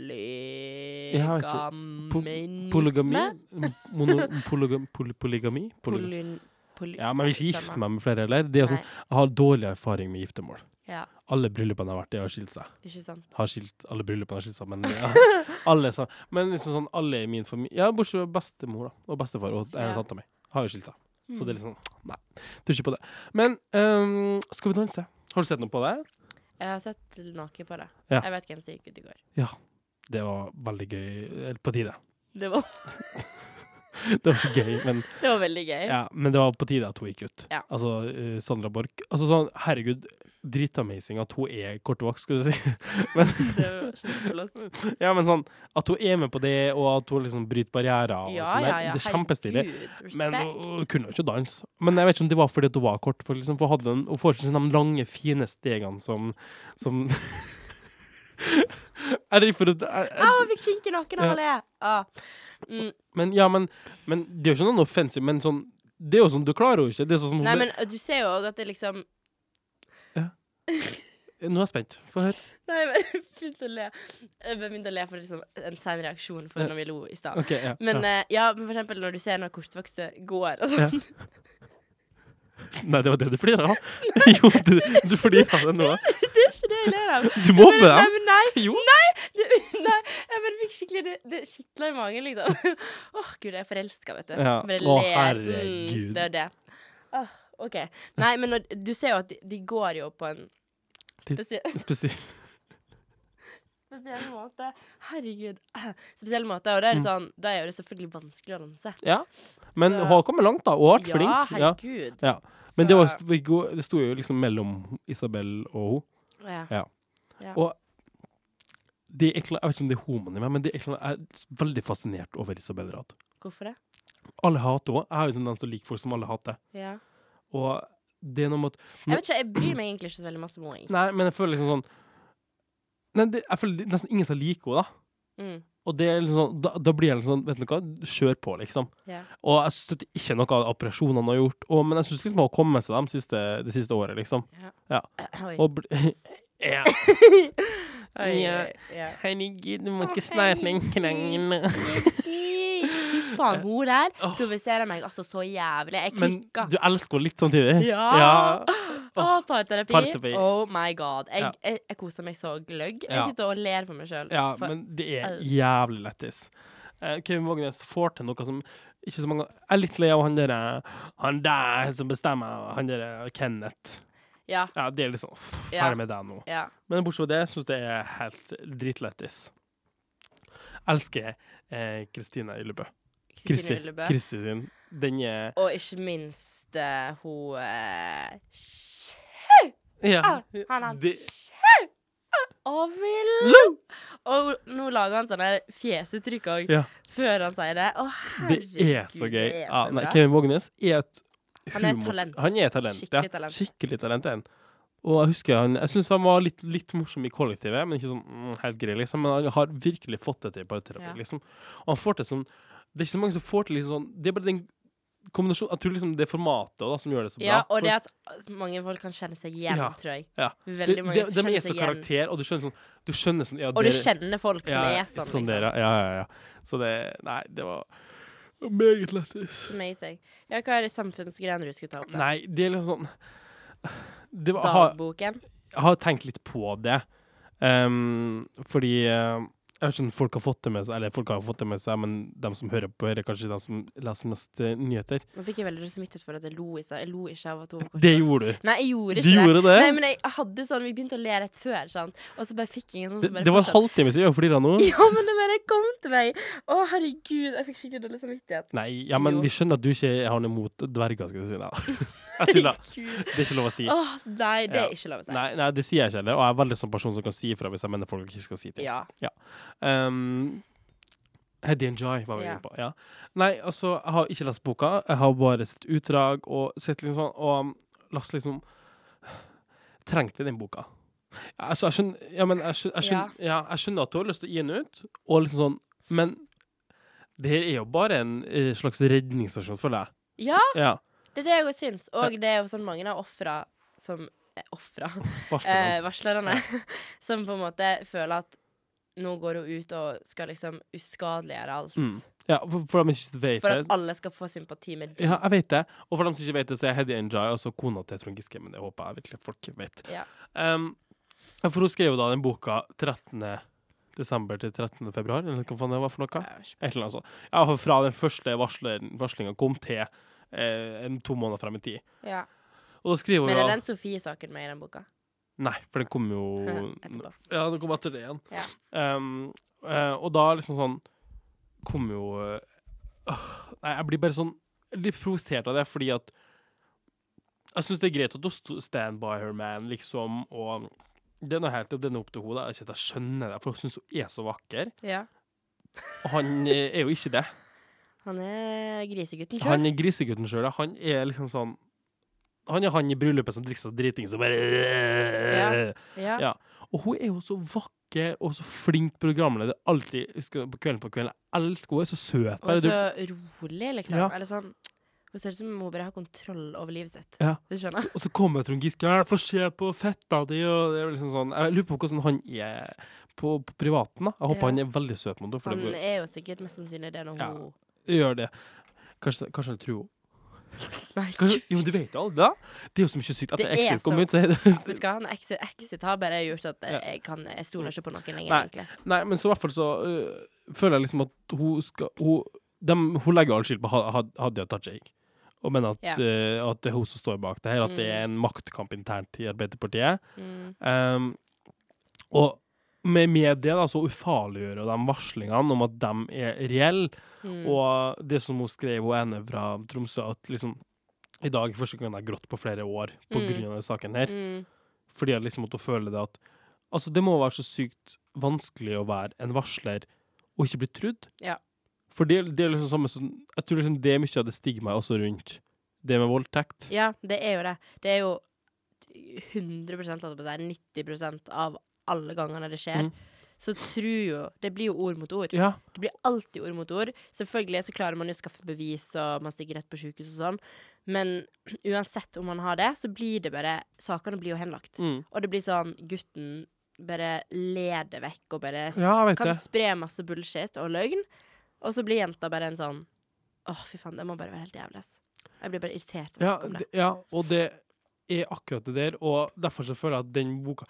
S1: Jeg vet ikke.
S2: Polygamisme?
S1: Polygami? Mono, polygam, poly, polygami? Polygam.
S2: Polyn... Poly
S1: Ja, men jeg vil ikke
S2: samme.
S1: gifte meg med flere heller. Det er sånn,
S2: Nei,
S1: jeg har dårlig erfaring med giftermål.
S2: Ja,
S1: Alle bryllupene jeg har vært i, har skilt seg.
S2: ikke sant.
S1: Har skilt, alle bryllupene har skilt seg, men ja, alle, så, men liksom sånn, alle i min familie Ja, bortsett fra bestemor da, og bestefar og ja.
S2: Ja. Mm.
S1: tanta mi. Har jo skilt seg. Så det er liksom Nei, tror ikke på det. Men øhm, Skal vi danse? Har du sett noe på det?
S2: Jeg har sett noe på det.
S1: Ja.
S2: Jeg vet hvem som gikk ut i går.
S1: Det var veldig gøy. Eller på tide.
S2: Det var,
S1: Det var ikke gøy, men
S2: det var veldig gøy.
S1: Ja, men det var på tide at hun gikk ut.
S2: Ja.
S1: Altså, eh, Sandra Borch. Altså sånn, herregud, dritamazing at hun er kortvokst, skulle du si.
S2: Det var kjempeflott.
S1: ja, men sånn, at hun er med på det, og at hun liksom bryter barrierer. og
S2: Ja,
S1: sånn der,
S2: ja, ja.
S1: Det er kjempestilig.
S2: Herregud, respekt.
S1: Men hun, hun kunne jo ikke danse. Men jeg vet ikke om det var fordi at hun var kort, for, liksom, for hadde hun, hun får ikke sånn de lange, fine stegene som, som Er det for at jeg- jeg-
S2: Au, jeg fikk kink i nakken av å le! Ah. Mm,
S1: Men ja, men, men det er jo ikke noe offensivt, men sånn Det er jo sånn, du klarer jo ikke. Det er sånn som hun
S2: nei,
S1: ble-
S2: men du ser jo òg at det liksom
S1: Nå er jeg spent. Få høre.
S2: Nei, men jeg begynte å le. Jeg begynte å le for liksom en sein reaksjon for når vi lo i stad.
S1: Ok, ja,
S2: Men
S1: ja.
S2: ja. ja, men for eksempel når du ser når kortvokste går og sånn. eh,
S1: Nei, det var det du flira av. Jo, du, du flirer av det nå.
S2: Det er ikke det jeg ler av.
S1: Du mobber
S2: Nei,
S1: dem.
S2: men nei,
S1: Jo.
S2: det, nei, jeg bare fikk skikkelig Det, det kitla i magen, liksom. Åh, gud, jeg er forelska, vet du.
S1: Ja.
S2: Bare
S1: Å,
S2: ler. Mm,
S1: herregud.
S2: Det er det. Åh, OK. Nei, men når, du ser jo at de, de går jo på en
S1: Titt.
S2: spesiell,
S1: Spesielt.
S2: spesiell måte. Herregud. Spesiell måte. Og
S1: Mm.
S2: da er det sånn Da er det selvfølgelig vanskelig å danse.
S1: Ja. Men
S2: Så-
S1: hun har kommet langt, da. Hun har vært
S2: Ja,
S1: flink. Ja.
S2: herregud.
S1: Ja. Men det, var,
S2: Så-
S1: vi går- det sto jo liksom mellom Isabel og hun.
S2: Ja.
S1: Ja.
S2: Ja.
S1: Og det er et eller annet, jeg vet ikke om det er homoen i meg, men det er et eller annet, jeg er veldig fascinert over Isabel Rad.
S2: Hvorfor det?
S1: Alle hater henne. Jeg har jo tendens til å like folk som alle hater.
S2: Ja.
S1: Og det er noe med at
S2: Jeg vet ikke, jeg bryr meg egentlig ikke så veldig masse om henne.
S1: Nei, men jeg føler liksom sånn Nei, det, jeg føler det er nesten ingen som liker henne, da.
S2: Mm.
S1: Og det er liksom, sånn- da, da blir jeg liksom sånn, vet du hva, kjør på, liksom.
S2: Ja.
S1: Og jeg støtter ikke noe av operasjonene hun har gjort, og, men jeg syns liksom hun har kommet seg dem siste, det siste året, liksom.
S2: Ja.
S1: Ja.
S2: Oi.
S1: Og bl ja. Ja.
S2: ja.
S1: Herregud, du må
S2: Å,
S1: ikke snakke lenger. lenger.
S2: Fy faen, hun der provoserer meg altså så jævlig. Jeg
S1: Men
S2: klikka.
S1: du elsker henne litt samtidig?
S2: Ja.
S1: ja.
S2: Å, parterapi.
S1: parterapi.
S2: Oh my god. Jeg,
S1: Ja.
S2: jeg, jeg koser meg så gløgg.
S1: Ja.
S2: Jeg sitter og ler for meg sjøl.
S1: Ja, men det er
S2: alt.
S1: jævlig lættis. Eh, Kevin Vågenes får til noe som ikke så mange Jeg er litt lei av han der eh, Han der som bestemmer, han der eh, Kenneth.
S2: ja,
S1: Ja, det er liksom pff,
S2: Ja.
S1: Ferdig med deg nå.
S2: ja.
S1: Men bortsett fra det syns jeg det er helt dritlættis. Elsker eh, Kristine Yllebø. Kristi.
S2: Kristine Ullebø.
S1: Kristi sin. Den er
S2: Og ikke minst eh, hun eh,
S1: Ja.
S2: Au, Han er
S1: Det-
S2: sjau! Og vill! Og nå lager han sånne fjesetrykk òg,
S1: Ja.
S2: før han sier det. Å, herregud.
S1: Det er så gøy.
S2: det er
S1: Ja,
S2: så
S1: nei,
S2: bra.
S1: Kevin Vågenes er et
S2: Han er et
S1: humor-
S2: talent.
S1: Han er et talent,
S2: Skikkelig
S1: ja.
S2: talent.
S1: Skikkelig talent er han. Og jeg husker han Jeg syns han var litt, litt morsom i kollektivet, men ikke sånn mm, helt grei, liksom. Men han har virkelig fått det til i parterapi,
S2: Ja.
S1: liksom. Og han får til sånn Det er ikke så mange som får til liksom sånn Det er bare den kombinasjonen Jeg tror liksom det er formatet da, som gjør det så bra.
S2: Ja, og
S1: For-
S2: det at mange folk kan kjenne seg igjen,
S1: Ja,
S2: tror jeg.
S1: ja.
S2: Veldig mange
S1: de, de, de
S2: kjenner
S1: er så
S2: seg igjen.
S1: karakter, og du skjønner sånn Du skjønner sånn ja,
S2: Og du
S1: dere-
S2: kjenner folk som
S1: ja,
S2: er sånn.
S1: sånn
S2: liksom.
S1: dere, ja, ja, ja. Så det Nei, det var meget lættis.
S2: Amazing. Ja, hva er det samfunnsgreiene du skulle ta opp? da?
S1: Nei, det er liksom sånn det var, har-
S2: Dagboken?
S1: jeg har tenkt litt på det. Ehm, fordi eh, Jeg vet ikke om folk har fått det med seg, eller folk har fått det med seg, men de som hører på, er kanskje de som leser mest eh, nyheter.
S2: Nå fikk jeg veldig smittet for at jeg lo i stad. Jeg lo ikke av at hun var
S1: Det
S2: kortvarig.
S1: gjorde du.
S2: Nei, jeg gjorde
S1: Du
S2: ikke
S1: gjorde det?
S2: Nei, men jeg hadde sånn, Vi begynte å le rett før, sant? og så bare fikk jeg en sånn
S1: Det,
S2: som bare
S1: det var en
S2: fortsatte.
S1: halvtime siden vi var flira nå.
S2: Ja, men det bare kom til meg. Å, herregud, jeg fikk skikkelig dårlig samvittighet.
S1: Nei, ja, men
S2: Jo.
S1: vi skjønner at du ikke har noe imot dverger, skal du si. Nei. Jeg tuller.
S2: Herregud.
S1: Det er ikke lov å si.
S2: Å, nei, det
S1: Ja.
S2: er ikke lov å si.
S1: Nei, nei, det sier jeg ikke heller, og jeg er veldig sånn person som kan si ifra hvis jeg mener folk ikke skal si ting.
S2: Ja.
S1: Um, Heddy and Jai var vi
S2: Ja.
S1: inne på. Ja. Nei, altså, jeg har ikke lest boka. Jeg har bare sett utdrag og sett liksom sånn, og um, lest liksom Trengte vi den boka? Ja, Altså, jeg skjønner, ja, men jeg skjønner, jeg, skjønner, ja. jeg skjønner at du har lyst til å gi den ut, og liksom sånn, men det her er jo bare en eh, slags redningsstasjon for deg.
S2: ja,
S1: Ja.
S2: det er det jeg også syns. Og det er jo sånn mange av ofra som eh, Ofra? Eh,
S1: Varsler.
S2: varslerne. Som på en måte føler at nå går hun ut og skal liksom uskadeliggjøre alt.
S1: Mm. ja, for, for de ikke vet
S2: For
S1: det.
S2: at alle skal få sympati med det.
S1: Ja, jeg vet det. Og for dem som ikke vet det, så er Heddy Njay altså kona til Trond Giske, men det håper jeg virkelig folk vet.
S2: Ja.
S1: Ehm, for hun skrev jo da den boka 13. desember til 13. februar, eller hva faen det var for noe? Et eller annet sånt. Ja, for fra den første varslinga kom til eh, en to måneder frem i tid.
S2: Ja.
S1: Og da skriver hun
S2: Men er
S1: da-
S2: den Sofie-saken med i den boka? eh,
S1: Nei, for den kom jo
S2: Etterpå.
S1: Ja, det kom etter det igjen.
S2: Ja.
S1: Ehm, eh, og da liksom sånn kom jo eh, åh, Nei, jeg blir bare sånn litt provosert av det, fordi at Jeg syns det er greit at du sto- stand by her, man, liksom, og det er noe helt opp, det er noe opp til henne. da. Jeg, ikke at jeg skjønner det, for hun syns hun er så vakker.
S2: Ja.
S1: Og han eh, er jo ikke det.
S2: Han er grisegutten sjøl.
S1: Han er grisegutten sjøl. Han er liksom sånn Han er han i bryllupet som drikker seg dritings og bare
S2: Ja.
S1: ja. Og hun er jo så vakker og så flink programleder. Alltid jeg husker på Kvelden på kvelden. Jeg elsker henne. Hun er så søt. Bare
S2: Og
S1: du,
S2: så rolig, liksom.
S1: Ja.
S2: Eller sånn Hun ser ut som om hun bare har kontroll over livet sitt.
S1: Ja.
S2: Du skjønner?
S1: og så kommer Trond Giske og 'Få se på fetta di', og det er jo liksom sånn Jeg lurer på hvordan han er på, på privaten. da Jeg håper
S2: Ja.
S1: han er veldig søt mot henne, for
S2: Han
S1: det
S2: er jo sikkert mest sannsynlig det når
S1: Ja.
S2: hun
S1: gjør det. Kanskje, kanskje han tror henne.
S2: Nei,
S1: Kanskje- Jo, men du vet jo aldri, da. Det er jo så mye sykt at
S2: Det
S1: det Exit
S2: er
S1: kom
S2: så-
S1: ut, så er det
S2: vet du hva, han exit, exit har bare gjort at
S1: Ja.
S2: jeg, jeg, kan, jeg stoler ikke på noen lenger,
S1: Nei.
S2: egentlig.
S1: Nei, men så i hvert fall så øh, føler jeg liksom at hun skal Hun, dem- hun legger jo all skyld på Ha- Ha- Hadia Tajik. Og mener at,
S2: Ja.
S1: øh, at det er hun som står bak det her, at det er en maktkamp internt i Arbeiderpartiet.
S2: Mm.
S1: Ehm, og med, med det da, så ufarliggjør hun de varslingene om at de er reelle.
S2: Mm.
S1: Og det som hun skrev, hun ene fra Tromsø, at liksom i dag er første gang jeg har grått på flere år på
S2: Mm.
S1: grunn av denne saken her.
S2: Mm.
S1: Fordi jeg liksom måtte føle det at Altså, det må være så sykt vanskelig å være en varsler og ikke bli trudd.
S2: Ja.
S1: For det, det er liksom samme som Jeg tror liksom det er mye av det stigmaet også rundt det med voldtekt.
S2: Ja, det er jo det. Det er jo 100 holdt jeg på å si, 90 av alle gangene det skjer.
S1: Mm.
S2: Så tror jo Det blir jo ord mot ord.
S1: Ja.
S2: Det blir alltid ord mot ord. Selvfølgelig så klarer man jo å skaffe bevis, og man stikker rett på sykehus og sånn. Men uansett om man har det, så blir det bare Sakene blir jo henlagt.
S1: Mm.
S2: Og det blir sånn Gutten bare ler det vekk og bare s-
S1: Ja, jeg vet
S2: kan
S1: det.
S2: spre masse bullshit og løgn. Og så blir jenta bare en sånn Åh, fy faen, det må bare være helt jævlig, ass. Jeg blir bare irritert av å
S1: Ja,
S2: snakke om det.
S1: det- ja, og det er akkurat det der, og derfor så føler jeg at den boka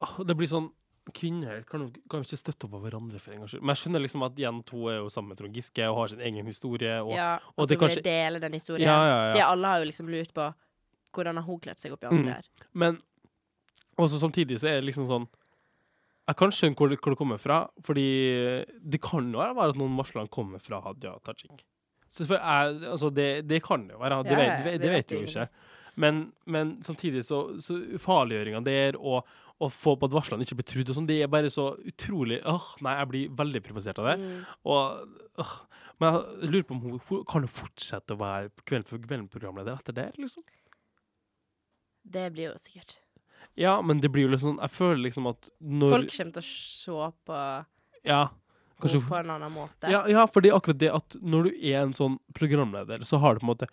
S1: Ah, Det blir sånn Kvinner kan, kan ikke støtte opp av hverandre, for en gangs skyld. Men jeg skjønner liksom at igjen to er jo sammen med Trond Giske og har sin egen historie. Og,
S2: Ja,
S1: og
S2: og
S1: det
S2: det
S1: kanskje-
S2: dele den historien.
S1: Ja, ja, ja.
S2: Så alle har jo liksom lurt på hvordan har hun kledd seg opp i alt
S1: Mm.
S2: det her.
S1: Men også samtidig så er det liksom sånn Jeg kan skjønne hvor det, hvor det kommer fra, fordi det kan jo være at noen varslene kommer fra Hadia Tajik. Så for jeg, altså det, det kan det jo være, det,
S2: Ja,
S1: vet,
S2: ja,
S1: det,
S2: vi vet
S1: vet vi jo
S2: jo
S1: ikke. Men, men samtidig så, så farliggjøringa der, og å få på at varslene ikke blir trudd og sånn, det er bare så utrolig Åh, nei, jeg blir veldig provosert av det.
S2: Mm.
S1: Og, åh, men jeg lurer på om hun- hun kan hun fortsette å være Kveld for kvelden-programleder etter det, liksom?
S2: Det blir jo sikkert
S1: Ja, men det blir jo liksom Jeg føler liksom at når
S2: Folk kommer til å se på
S1: Ja, kanskje
S2: henne på en annen måte.
S1: ja, ja, for det er akkurat det at når du er en sånn programleder, så har du på en måte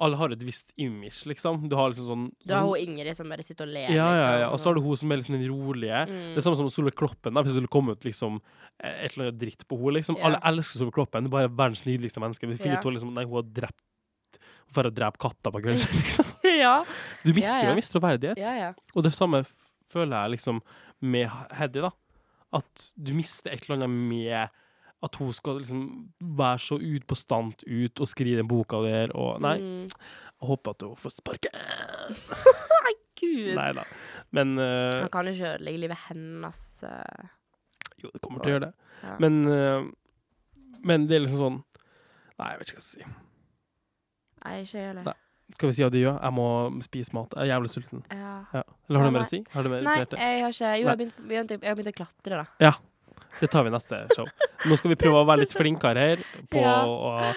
S1: Alle har et visst image, liksom. Du har liksom sånn,
S2: Da har
S1: sånn
S2: hun Ingrid som bare sitter og
S1: ja,
S2: ler.
S1: ja, ja.
S2: liksom,
S1: Og så har du hun som er liksom den rolige.
S2: Mm.
S1: Det er samme som Solveig Kloppen. da, Hvis det skulle komme ut liksom eh, et eller annet dritt på henne liksom.
S2: Ja.
S1: Alle elsker Solveig Kloppen. Det er bare verdens nydeligste menneske. Vi finner
S2: Ja.
S1: ut hun liksom Nei, hun har drept Hun drar og dreper katter på kvelden, liksom.
S2: ja.
S1: Du mister
S2: Ja,
S1: jo
S2: ja.
S1: en viss troverdighet.
S2: ja, ja.
S1: Og det samme f- føler jeg liksom med Heddy, da. At du mister et eller annet med at hun skal liksom være så ut på stant ut og skrive den boka der og Nei,
S2: Mm.
S1: jeg håper at hun får sparken.
S2: Gud.
S1: Nei da. Men eh,
S2: Han kan jo ikke ødelegge livet hennes. eh.
S1: Jo, det kommer til å gjøre det.
S2: Ja.
S1: Men, eh, men det er liksom sånn Nei, jeg vet ikke hva jeg skal si.
S2: Nei, ikke jeg heller.
S1: Nei. Skal vi si adjø? Jeg må spise mat. Jeg er jævlig sulten.
S2: Ja.
S1: Ja. Eller har
S2: Ja,
S1: du mer
S2: nei.
S1: å si? Har du mer
S2: Nei,
S1: irritert deg?
S2: jeg har ikke Jo, jeg
S1: Nei.
S2: har begynt, begynt, jeg har begynt å klatre, da.
S1: Det tar vi neste show. Nå skal vi prøve å være litt flinkere her på
S2: Ja.
S1: å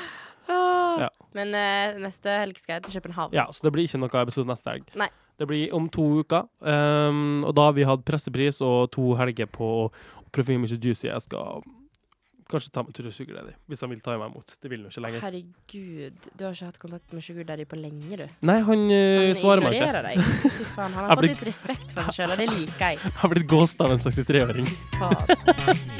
S1: Ja.
S2: Men eh, neste helg skal jeg til København.
S1: Ah. Ja, så det blir ikke noe episode neste helg.
S2: Nei.
S1: Det blir om to uker. ehm, og da har vi hatt pressepris og to helger på å prøve mye juicy. Jeg skal kanskje ta meg en tur og suge det, hvis han vil ta meg imot. Det vil han jo ikke lenger.
S2: Herregud, du har ikke hatt kontakt med Sugar Daddy på lenge, du.
S1: Nei, han eh, svarer meg ikke.
S2: ignorerer deg. Fy faen, han har
S1: Jeg
S2: fått
S1: blir-
S2: litt respekt for seg sjøl, og det liker jeg.
S1: Jeg har blitt ghosta av en 63-åring.
S2: Faen.